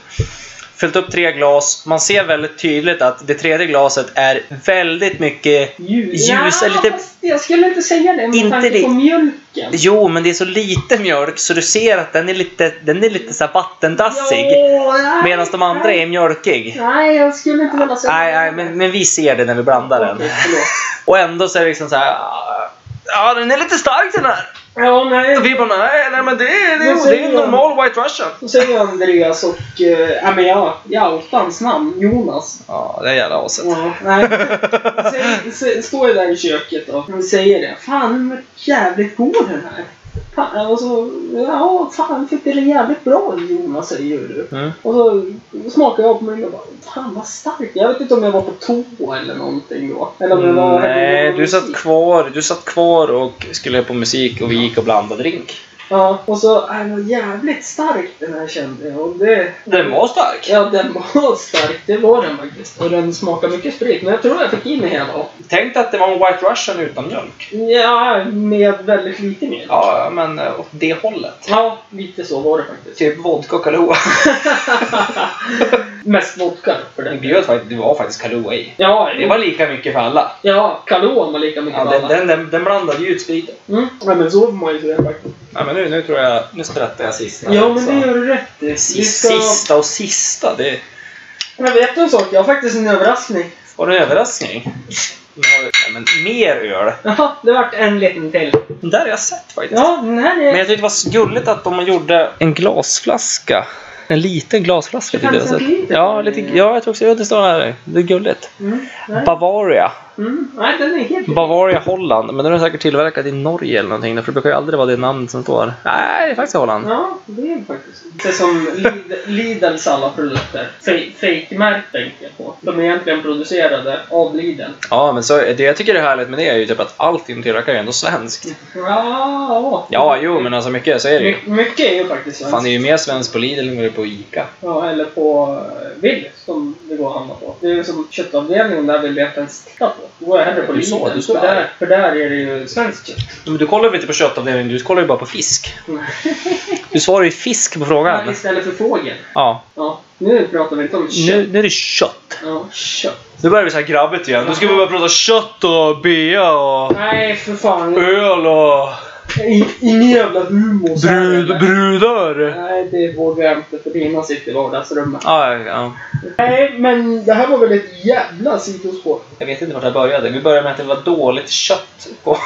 [SPEAKER 3] Fyllt upp tre glas. Man ser väldigt tydligt att det tredje glaset är väldigt mycket
[SPEAKER 2] Ljus,
[SPEAKER 3] Ljus är lite-
[SPEAKER 2] fast jag skulle inte säga det med
[SPEAKER 3] Inte
[SPEAKER 2] tanke på
[SPEAKER 3] det.
[SPEAKER 2] mjölken.
[SPEAKER 3] Jo, men det är så lite mjölk så du ser att den är lite, den är lite så här vattendassig.
[SPEAKER 2] Ja, nej,
[SPEAKER 3] Medan de andra
[SPEAKER 2] nej.
[SPEAKER 3] är mjölkig.
[SPEAKER 2] Nej, jag skulle inte vilja säga
[SPEAKER 3] Nej, nej men, men vi ser det när vi blandar den.
[SPEAKER 2] Okej, förlåt.
[SPEAKER 3] Och ändå så är det liksom så här. "Ah, Ja, den är lite stark den här.
[SPEAKER 2] Ja, nej.
[SPEAKER 3] Och vi bara, nej, nej men det är, det är, det är en normal White Russian.
[SPEAKER 2] Då säger Andreas och... eh, Ja, men jag, jag outar hans namn. Jonas.
[SPEAKER 3] Ja, det är jävla aset.
[SPEAKER 2] Ja, nej. Säg- sä- Står ju där i köket och han säger det. Fan, den var jävligt god den här. Fan, och så, ja, fan fick det jävligt bra Jonas, säger du.
[SPEAKER 3] Mm.
[SPEAKER 2] Och så smakar jag på mig och bara, fan vad starkt. Jag vet inte om jag var på toa eller någonting då. Eller om jag var...
[SPEAKER 3] Mm, Nej, du satt kvar, du satt kvar och skulle på musik och vi gick och blandade drink.
[SPEAKER 2] Ja, och så, "Ja, den var jävligt stark den här kände jag. Och det...
[SPEAKER 3] Den var stark.
[SPEAKER 2] Ja, den var stark. Det var den faktiskt. Och den smakar mycket sprit. Men jag tror jag fick i mig hela.
[SPEAKER 3] Tänk dig att det var en White Russian utan mjölk.
[SPEAKER 2] Ja, med väldigt lite mer.
[SPEAKER 3] Ja, men eh, åt det hållet.
[SPEAKER 2] Ja, lite så var det faktiskt.
[SPEAKER 3] Typ vodka och Kahlua.
[SPEAKER 2] Mest vodka för den delen.
[SPEAKER 3] Bjöd fakt- Det var faktiskt Kahlua i.
[SPEAKER 2] Ja,
[SPEAKER 3] Det var lika mycket för alla.
[SPEAKER 2] ja Kahlon var lika mycket
[SPEAKER 3] Ja, den,
[SPEAKER 2] balla.
[SPEAKER 3] den, den, den blandade ju ut spriten.
[SPEAKER 2] Mm. Ja, men så får man ju säga faktiskt.
[SPEAKER 3] Ja, men nu, nu tror jag... Nu sprättar jag sist.
[SPEAKER 2] Ja, men det gör du rätt i. Vi ska-
[SPEAKER 3] Sista och sista. Det
[SPEAKER 2] Jag vet en sak. Jag har faktiskt en överraskning.
[SPEAKER 3] var en överraskning. Nu har vi- Nej, men mer öl.
[SPEAKER 2] Jaha, det vart en liten till.
[SPEAKER 3] Den där har jag sett faktiskt.
[SPEAKER 2] Ja, den här
[SPEAKER 3] Men
[SPEAKER 2] är...
[SPEAKER 3] jag tyckte det var gulligt att de gjorde en glasflaska. En liten glasflaska tyckte jag.
[SPEAKER 2] 25 centiliter.
[SPEAKER 3] Ja, lite, ja, jag tror också ja, det står här. Det är gulligt.
[SPEAKER 2] Mm, nej.
[SPEAKER 3] Bavaria.
[SPEAKER 2] Mm, nej, den är helt...
[SPEAKER 3] Bavaria, Holland. Men den är säkert tillverkad i Norge eller någonting. För det brukar ju aldrig vara det namn som står. Nej, det är faktiskt Holland.
[SPEAKER 2] Ja, det är faktiskt. Det är som Lid- Lidls alla produkter. Fe- Fake-märkt tänker jag på. De är egentligen producerade av Lidl.
[SPEAKER 3] Ja, men så, det jag tycker är härligt med det är ju typ att allt de tillverkar är ändå svenskt.
[SPEAKER 2] Ja,
[SPEAKER 3] Ja, jo, men alltså mycket så är det ju.
[SPEAKER 2] My- mycket är ju faktiskt svenskt.
[SPEAKER 3] Fan, det är ju mer svenskt på Lidl än vad det är på Ica.
[SPEAKER 2] Ja, eller på eh, Willys som det går att handla på. Det är ju som köttavdelningen där vill jag inte ens titta på. Då går jag hellre på
[SPEAKER 3] Du
[SPEAKER 2] Lidl.
[SPEAKER 3] sa- du sa
[SPEAKER 2] för, där, för där är det ju svenskt kött.
[SPEAKER 3] Men du kollar väl inte på köttavdelningen, du kollar ju bara på fisk. Du svarar ju fisk på
[SPEAKER 2] Ja,
[SPEAKER 3] frågan.
[SPEAKER 2] istället för fågel.
[SPEAKER 3] Ja,
[SPEAKER 2] Ja, nu pratar vi inte om kött.
[SPEAKER 3] nu, nu är det kött.
[SPEAKER 2] Ja, kött.
[SPEAKER 3] Nu börjar vi så här grabbigt igen. Nu ska vi börja prata kött och bea och
[SPEAKER 2] Nej, för fan.
[SPEAKER 3] öl och
[SPEAKER 2] I- Ingen jävla humor. så här, eller?
[SPEAKER 3] brud, brudar.
[SPEAKER 2] Nej, det vågar jag inte för Lina sitter i vardagsrummet.
[SPEAKER 3] Ja, ja.
[SPEAKER 2] Nej, men det här var väl ett jävla sidospår.
[SPEAKER 3] Jag vet inte vart det här började. Vi började med att det var dåligt kött på,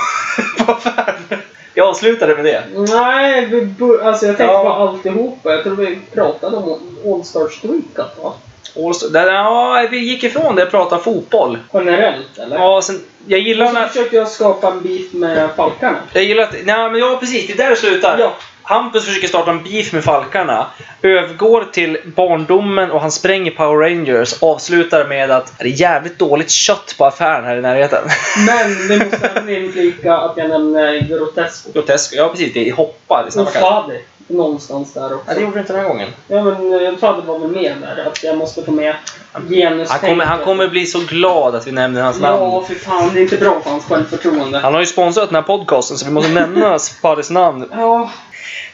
[SPEAKER 3] på affären. Jag avslutade med det.
[SPEAKER 2] Nej, vi bör- alltså jag tänkte
[SPEAKER 3] Ja.
[SPEAKER 2] på alltihopa. Jag tror vi pratade om Allstars Weekend va?
[SPEAKER 3] Allstar- där- Ja, vi gick ifrån det och pratade fotboll.
[SPEAKER 2] Generellt, eller?
[SPEAKER 3] Ja, sen, jag gillar
[SPEAKER 2] Och så
[SPEAKER 3] när...
[SPEAKER 2] försökte jag skapa en beef med Falkarna.
[SPEAKER 3] Jag gillar att... Nej, men ja, precis. Det är där det slutar.
[SPEAKER 2] Ja.
[SPEAKER 3] Hampus försöker starta en beef med Falkarna. Övergår till barndomen och han spränger Power Rangers. Avslutar med att det är jävligt dåligt kött på affären här i närheten.
[SPEAKER 2] Men det måste även inflika att jag nämner Grotesco.
[SPEAKER 3] Grotesk. Ja, precis. Det hoppar i samma
[SPEAKER 2] Och
[SPEAKER 3] kast.
[SPEAKER 2] Fadi. Någonstans där
[SPEAKER 3] Ja, det
[SPEAKER 2] också.
[SPEAKER 3] gjorde du inte den här gången.
[SPEAKER 2] Ja, men eh, Fadi var väl med där. Att jag måste få med genustänket.
[SPEAKER 3] Han kommer, han kommer bli så glad att vi nämner hans
[SPEAKER 2] Ja,
[SPEAKER 3] namn.
[SPEAKER 2] för fan. Det är inte bra för hans självförtroende.
[SPEAKER 3] Han har ju sponsrat den här podcasten så vi måste nämna Fares namn.
[SPEAKER 2] Ja,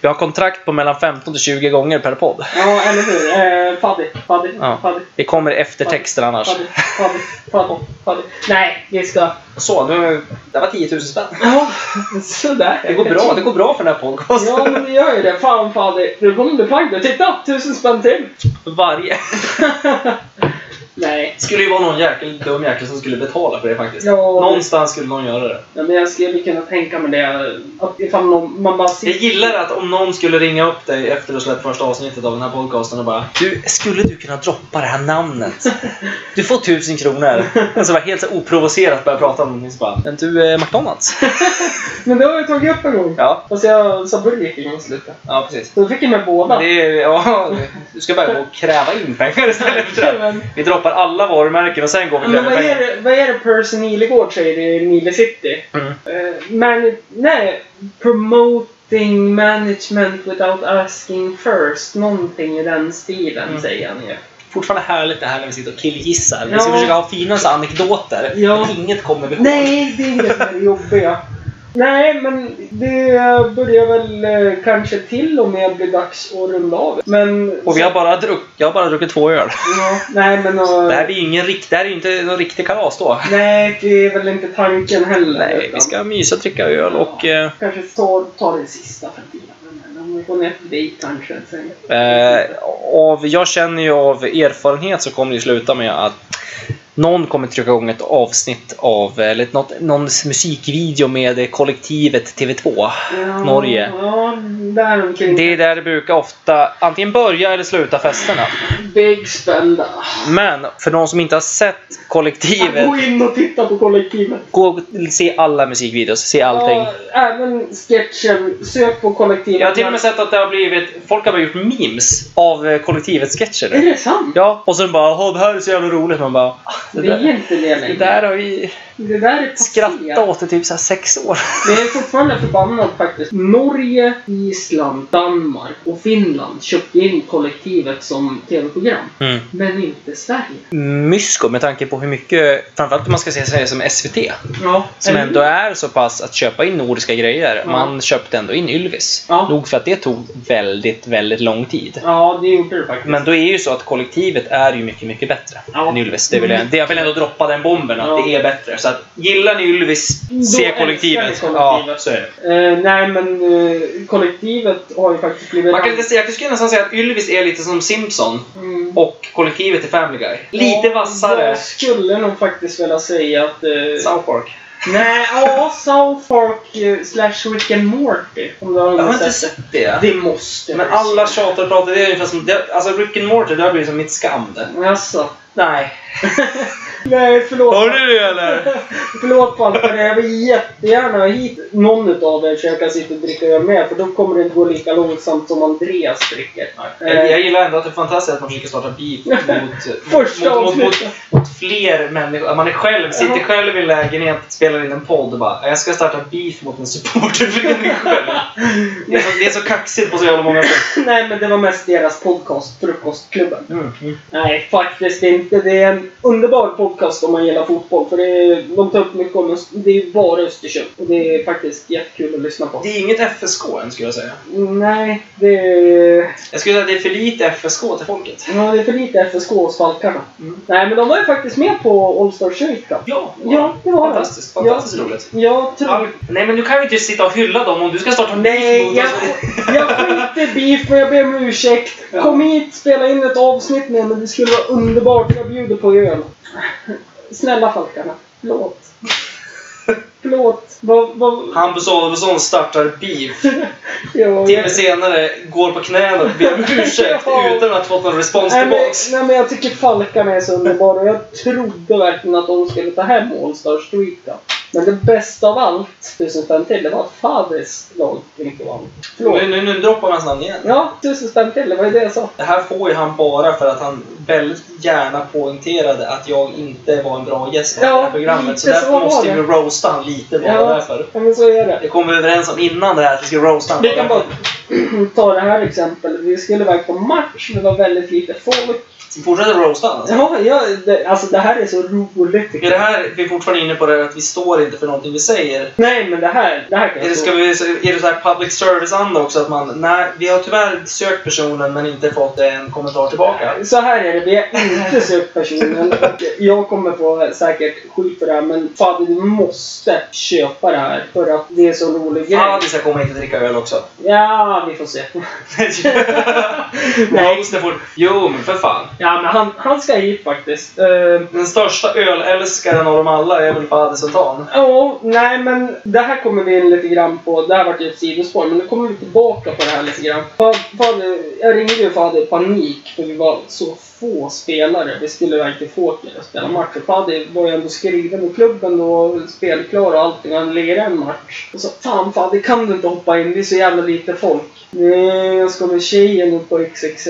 [SPEAKER 3] Vi har kontrakt på mellan 15 till 20 gånger per podd.
[SPEAKER 2] Ja, eller hur? Eh, Faddy, Faddy,
[SPEAKER 3] Ja.
[SPEAKER 2] Faddy.
[SPEAKER 3] Det kommer efter texter annars.
[SPEAKER 2] Faddy, Faddy, Faddy, Faddy. Nej, vi ska...
[SPEAKER 6] Så, nu, det var 10 000 spänn.
[SPEAKER 2] Ja, sådär.
[SPEAKER 6] Det går bra, det går bra för den här podcasten.
[SPEAKER 2] Ja, men det gör ju det. Fan, Faddy. Nu kommer du plagg där. Titta! Tusen spänn till!
[SPEAKER 6] Varje.
[SPEAKER 2] Nej.
[SPEAKER 6] Det skulle ju vara någon jäkel, dum jäkel som skulle betala för det faktiskt.
[SPEAKER 2] Ja.
[SPEAKER 6] Någonstans skulle någon göra det.
[SPEAKER 2] Ja, men jag skulle kunna tänka mig det. Att ifall någon, man bara
[SPEAKER 6] Jag gillar att om någon skulle ringa upp dig efter att ha släppt första avsnittet av den här podcasten och bara Du, skulle du kunna droppa det här namnet? Du får tusen kronor. Och så bara helt så här oprovocerat börja prata om någonting så bara Men du, eh, McDonalds?
[SPEAKER 2] Men det har jag tagit upp en gång.
[SPEAKER 6] Ja,
[SPEAKER 2] Fast jag sa Burger King i slutet.
[SPEAKER 6] ja precis.
[SPEAKER 2] Så då fick jag med båda.
[SPEAKER 6] Men det är, ja, du ska börja gå och kräva in pengar istället för det.
[SPEAKER 2] Men,
[SPEAKER 6] Vi droppar alla varumärken och sen går vi och
[SPEAKER 2] men
[SPEAKER 6] kräver
[SPEAKER 2] vad är
[SPEAKER 6] pengar.
[SPEAKER 2] det, vad är det Percy Nilegård säger i Nile City?
[SPEAKER 6] Mm.
[SPEAKER 2] Eh, man, nej, promoting management without asking first. Någonting i den stilen
[SPEAKER 6] Mm.
[SPEAKER 2] säger han ju.
[SPEAKER 6] Fortfarande härligt det här när vi sitter och killgissar. Vi ska
[SPEAKER 2] Ja.
[SPEAKER 6] försöka ha fina så här anekdoter.
[SPEAKER 2] Ja.
[SPEAKER 6] Men inget kommer vi ihåg.
[SPEAKER 2] Nej, det är inget med det jobbiga. Nej, men det börjar väl eh, kanske till och med bli dags att runda av. Men...
[SPEAKER 6] Och vi har bara druck, jag har bara druckit två öl.
[SPEAKER 2] ja, nej, men... och-
[SPEAKER 6] Det här blir ju ingen rikt, det här är ju inte någon riktig kalas då.
[SPEAKER 2] Nej, det är väl inte tanken heller.
[SPEAKER 6] Nej,
[SPEAKER 2] utan
[SPEAKER 6] vi ska mysa, dricka öl och... Eh,
[SPEAKER 2] Kanske ta, ta den sista för bilen. Om vi går ner till dig kanske. Sen.
[SPEAKER 3] Eh, av, jag känner ju av erfarenhet så kommer det ju sluta med att någon kommer trycka igång ett avsnitt av, eh, eller något, någon musikvideo med eh, kollektivet TV2.
[SPEAKER 2] Ja,
[SPEAKER 3] Norge.
[SPEAKER 2] Ja, däromkring.
[SPEAKER 3] Det är där det brukar ofta antingen börja eller sluta festerna.
[SPEAKER 2] Big spända.
[SPEAKER 3] Men för någon som inte har sett kollektivet,
[SPEAKER 2] Gå in och titta på kollektivet.
[SPEAKER 3] gå och se alla musikvideos, se allting.
[SPEAKER 2] Ja, även sketchen. Sök på kollektivet.
[SPEAKER 3] Jag har till och med sett att det har blivit, folk har bara gjort memes av eh, kollektivets sketcher
[SPEAKER 2] Är
[SPEAKER 3] nu.
[SPEAKER 2] det sant?
[SPEAKER 3] Ja, och sen bara "Åh, det här är så jävla roligt. Man bara, "Ah, det
[SPEAKER 2] Det är
[SPEAKER 3] där,
[SPEAKER 2] inte det
[SPEAKER 3] det
[SPEAKER 2] längre.
[SPEAKER 3] där har vi
[SPEAKER 2] Det där är passé.
[SPEAKER 3] skrattat åt i typ så här sex år.
[SPEAKER 2] Det är fortfarande förbannat faktiskt. Norge, Island, Danmark och Finland köpte in kollektivet som tv-program.
[SPEAKER 3] Mm.
[SPEAKER 2] Men inte Sverige.
[SPEAKER 3] Mysko med tanke på hur mycket, framförallt om man ska se sig som SVT,
[SPEAKER 2] Ja,
[SPEAKER 3] som
[SPEAKER 2] eller-
[SPEAKER 3] ändå är så pass att köpa in nordiska grejer.
[SPEAKER 2] Ja.
[SPEAKER 3] Man köpte ändå in Ylvis.
[SPEAKER 2] Ja.
[SPEAKER 3] Nog för att det tog väldigt, väldigt lång tid.
[SPEAKER 2] Ja, det gjorde det faktiskt.
[SPEAKER 3] Men då är ju så att kollektivet är ju mycket, mycket bättre
[SPEAKER 2] Ja. Mm.
[SPEAKER 3] än Ylvis. Det vill jag, det jag vill ändå droppa den bomben att
[SPEAKER 2] Ja.
[SPEAKER 3] det är bättre. Så att gillar ni Ylvis,
[SPEAKER 2] Då
[SPEAKER 3] se
[SPEAKER 2] älskar ni
[SPEAKER 3] kollektivet.
[SPEAKER 2] kollektivet.
[SPEAKER 3] Ja, så är det.
[SPEAKER 2] Eh, nej, men eh, kollektivet har ju faktiskt blivit...
[SPEAKER 3] Man kan, inte säga- jag skulle nästan säga att Ylvis är lite som Simpson
[SPEAKER 2] Mm.
[SPEAKER 3] och kollektivet är Family Guy. Lite
[SPEAKER 2] Ja,
[SPEAKER 3] vassare.
[SPEAKER 2] Jag skulle nog faktiskt vilja säga att... eh,
[SPEAKER 3] South Park.
[SPEAKER 2] nej, ja, South Park eh, slash Rick and Morty. Om du har
[SPEAKER 3] Jag har
[SPEAKER 2] någon
[SPEAKER 3] inte
[SPEAKER 2] sett-
[SPEAKER 3] sett det.
[SPEAKER 2] Det måste
[SPEAKER 3] Men
[SPEAKER 2] du
[SPEAKER 3] alla
[SPEAKER 2] se.
[SPEAKER 3] tjatar och pratar. Det är ungefär som, det, alltså Rick and Morty, det har blivit som mitt skam det.
[SPEAKER 2] Jaså?
[SPEAKER 3] Nej.
[SPEAKER 2] Nej, förlåt.
[SPEAKER 3] du det eller?
[SPEAKER 2] Förlåt Palper, jag vill jättegärna ha hit någon utav er så jag kan sitta och dricka öl med. För då kommer det inte gå lika långsamt som Andreas dricker.
[SPEAKER 3] Eh, Jag, jag gillar ändå att det är fantastiskt att man försöker starta beef mot,
[SPEAKER 2] Första
[SPEAKER 3] mot, mot, mot,
[SPEAKER 2] avsnittet.
[SPEAKER 3] mot fler människor. Att Man är själv, sitter
[SPEAKER 2] Ja.
[SPEAKER 3] själv i en lägenhet, spelar in en podd och bara jag ska starta beef mot en supporterförening själv. Det är, så, det är så kaxigt på så jävla många sätt.
[SPEAKER 2] Nej, men det var mest deras podcast, Frukostklubben.
[SPEAKER 3] Mm. Mm.
[SPEAKER 2] Nej, faktiskt inte. Det är en underbar podcast om man gillar fotboll. För det är, de tar upp mycket om Öst- Det är bara Östersund. Och det är faktiskt jättekul att lyssna på.
[SPEAKER 3] Det är inget FSK än skulle jag säga.
[SPEAKER 2] Nej, det är,
[SPEAKER 3] Jag skulle säga att det är för lite FSK till folket.
[SPEAKER 2] ja, det är för lite FSK hos Falkarna. Nej, men de var ju faktiskt med på All Star Shake
[SPEAKER 3] Ja,
[SPEAKER 2] Ja, det var det.
[SPEAKER 3] fantastiskt. Fantastiskt roligt.
[SPEAKER 2] Jag tror...
[SPEAKER 3] All... Nej men du kan ju inte sitta och hylla dem om du ska starta beef
[SPEAKER 2] Nej,
[SPEAKER 3] mot
[SPEAKER 2] jag,
[SPEAKER 3] oss.
[SPEAKER 2] jag skiter i beef och jag ber om ursäkt. Kom hit, spela in ett avsnitt med mig. Det skulle vara underbart. Jag bjuder på öl. Snälla Falkarna, förlåt. Förlåt. Vad... vad...
[SPEAKER 3] Hampus Alfredsson startar beef.
[SPEAKER 2] Ja,
[SPEAKER 3] Timme senare går på knäna och ber om ursäkt
[SPEAKER 2] Ja.
[SPEAKER 3] utan att fått någon respons
[SPEAKER 2] Nej men,
[SPEAKER 3] tillbaks.
[SPEAKER 2] nej men jag tycker Falkarna är så underbara och jag trodde verkligen att de skulle ta hem All Star Street då. Men det bästa av allt, tusen spänn till, det var att Faders lag inte vann. Förlåt.
[SPEAKER 3] Nu, nu, nu droppar hans namn igen.
[SPEAKER 2] Ja, tusen spänn till, det var ju det jag sa.
[SPEAKER 3] Det här får ju han bara för att han väldigt gärna poängterade att jag inte var en bra gäst i det
[SPEAKER 2] Ja,
[SPEAKER 3] här programmet. Så
[SPEAKER 2] lite
[SPEAKER 3] därför
[SPEAKER 2] så var
[SPEAKER 3] måste vi
[SPEAKER 2] det.
[SPEAKER 3] roasta han lite bara
[SPEAKER 2] Ja.
[SPEAKER 3] därför.
[SPEAKER 2] Ja, men så är det.
[SPEAKER 3] Det kom vi överens om innan det här att vi ska roasta han.
[SPEAKER 2] Vi kan bara ta det här exemplet. Vi skulle iväg på match, men det var väldigt lite folk.
[SPEAKER 4] Så fortsätter roasta han, alltså.
[SPEAKER 2] Ja, ja, det, alltså det här är så roligt tycker
[SPEAKER 4] Är det
[SPEAKER 2] jag.
[SPEAKER 4] här, vi är fortfarande inne på det här att vi står inte för någonting vi säger.
[SPEAKER 2] Nej, men det här, det här kan
[SPEAKER 4] Är det,
[SPEAKER 2] jag
[SPEAKER 4] ska
[SPEAKER 2] stå.
[SPEAKER 4] vi, är det så här public service-anda också? Att man, nej, vi har tyvärr sökt personen men inte fått en kommentar tillbaka.
[SPEAKER 2] Så här är det, vi har inte sökt personen. Och Jag kommer få säkert skit för det här, men Fadde du måste köpa det här. För att det är så rolig grej.
[SPEAKER 4] Fan, vi Ah, ska komma hit och dricka öl också.
[SPEAKER 2] Ja, vi får se.
[SPEAKER 4] Nej. Just det, fort. Jo, men för fan.
[SPEAKER 2] Ja, men han, han ska hit faktiskt. Eh,
[SPEAKER 4] Den största ölälskaren av dem alla är väl Fadi Sultan.
[SPEAKER 2] Ja, nej men det här kommer vi in lite grann på. Det här vart ju ett sidospår, men nu kommer vi tillbaka på det här lite grann. Fan, fan, jag ringde ju för jag hade panik, för vi var så få spelare. Vi skulle iväg till Fåker och spela match. Och Fadi var ju ändå skriven i klubben och spelklar och allting. Han lirar en match. Och så fan Fadi, kan du inte hoppa in? Det är så jävla lite folk. Nej, jag ska med tjejen upp på XXL.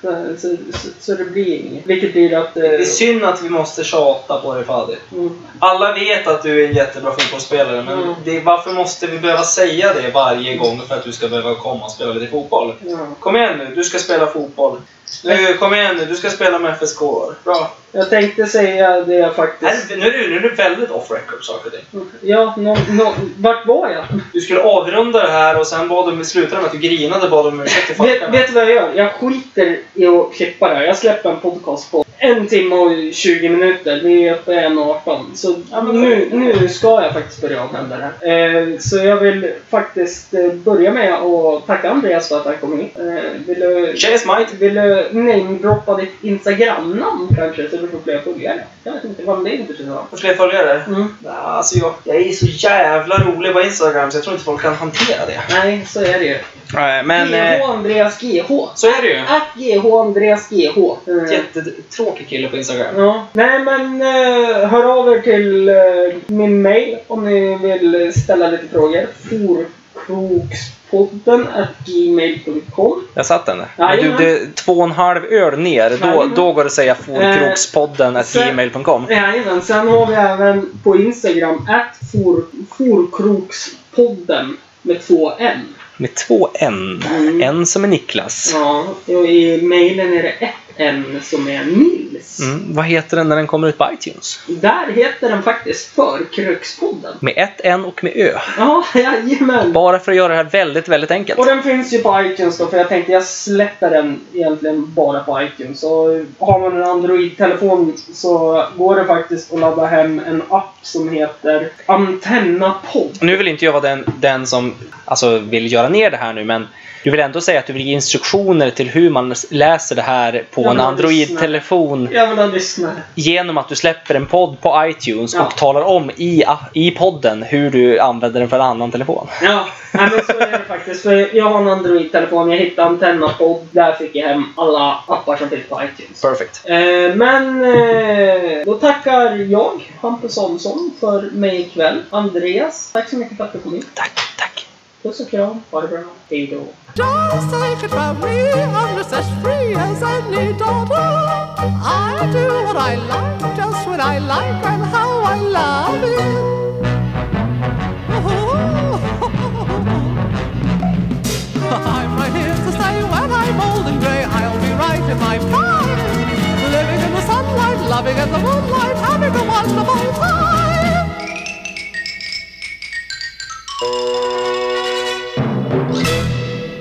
[SPEAKER 2] Så, så, så, så det blir inget. Vilket blir att... Eh,
[SPEAKER 4] Det är synd att vi måste tjata på dig Fadi.
[SPEAKER 2] mm.
[SPEAKER 4] Alla vet att du är en jättebra fotbollsspelare men
[SPEAKER 2] Mm.
[SPEAKER 4] det, varför måste vi behöva säga det varje gång för att du ska behöva komma och spela lite fotboll?
[SPEAKER 2] ja.
[SPEAKER 4] Kom igen nu, du ska spela fotboll. Nu, kom igen nu, du ska spela med FSK. Bra.
[SPEAKER 2] Jag tänkte säga det jag faktiskt...
[SPEAKER 4] Nej, Nu är du, nu är du väldigt off record saker och ting.
[SPEAKER 2] Ja, nå, nå, vart var jag?
[SPEAKER 4] Du skulle avrunda det här och sen bad de, slutade med att du grinade och bad om ursäkt till
[SPEAKER 2] Vet,
[SPEAKER 4] fackarna.
[SPEAKER 2] vet du vad jag gör? Jag skiter i att klippa det här. Jag släpper en podcast på en timme och 20 minuter. Vi är uppe i 1.18. Så
[SPEAKER 4] Ja, men-
[SPEAKER 2] nu, nu ska jag faktiskt börja använda det här. Eh, så jag vill faktiskt eh, börja med att tacka Andreas för att han kom hit. Eh, vill du,
[SPEAKER 4] Cheers mate!
[SPEAKER 2] vill du namedroppa ditt Instagram-namn kanske så du får fler följare? Jag vet inte, vad det är intresserad av.
[SPEAKER 4] Får fler följare?
[SPEAKER 2] Mm.
[SPEAKER 4] Nej, Alltså jag, jag är så jävla rolig på Instagram så jag tror inte folk kan hantera det.
[SPEAKER 2] Nej, så är det ju.
[SPEAKER 4] Nej,
[SPEAKER 3] eh,
[SPEAKER 2] GH Andreas GH.
[SPEAKER 4] så är det ju.
[SPEAKER 2] Att GH Andreas GH. Eh,
[SPEAKER 4] Jättetråkig kille på Instagram.
[SPEAKER 2] Ja. Nej men eh, hör av er till eh, min mail om ni vill ställa lite frågor. Forkrokspodden gmail.com
[SPEAKER 3] Jag satt den där. Men du,
[SPEAKER 2] Jajamän.
[SPEAKER 3] det är två och en halv öl ner. Då,
[SPEAKER 2] Jajamän.
[SPEAKER 3] då går det att säga
[SPEAKER 4] Eh,
[SPEAKER 3] forkrokspodden at
[SPEAKER 2] sen-
[SPEAKER 3] gmail.com.
[SPEAKER 2] Jajamän, sen har vi även på Instagram att for, forkrokspodden med två N.
[SPEAKER 3] Med två N.
[SPEAKER 2] Mm.
[SPEAKER 3] En som är Niklas.
[SPEAKER 2] Ja, och i mailen är det ett N som är Nils.
[SPEAKER 3] Mm. Vad heter den när den kommer ut på iTunes?
[SPEAKER 2] Där heter den faktiskt Förkrökspodden.
[SPEAKER 3] Med ett N och med Ö.
[SPEAKER 2] Ja, jajamän.
[SPEAKER 3] Bara för att göra det här väldigt, väldigt enkelt.
[SPEAKER 2] Och den finns ju på iTunes då, för jag tänkte jag släpper den egentligen bara på iTunes. Så har man en Android-telefon så går det faktiskt att ladda hem en app som heter Antennapodd.
[SPEAKER 3] Nu vill inte jag vara den, den som alltså, vill göra ner det här nu, men du vill ändå säga att du vill ge instruktioner till hur man s- läser det här på
[SPEAKER 2] Ja,
[SPEAKER 3] en
[SPEAKER 2] men
[SPEAKER 3] Android-telefon
[SPEAKER 2] Jag vill ha lyssnare.
[SPEAKER 3] genom att du släpper en podd på iTunes
[SPEAKER 2] Ja.
[SPEAKER 3] och talar om i, a- i podden hur du använder den för en annan telefon.
[SPEAKER 2] Ja, nej, men så är det faktiskt. För jag har en Android-telefon, jag hittade Antennapodd. Där fick jag hem alla appar som finns på iTunes.
[SPEAKER 3] Perfect.
[SPEAKER 2] Eh, men eh, då tackar jag, Hampus Olsson, för mig ikväll. Andreas, tack så mycket för att du kom hit.
[SPEAKER 3] Tack, tack.
[SPEAKER 2] Puss och kram, ha det bra. Hej då.
[SPEAKER 1] Just take it from me, I'm just as free as any daughter. I do what I like, just what I like, and how I love it. I'm right here to stay when I'm old and grey. I'll be right in my prime, living in the sunlight, loving in the moonlight.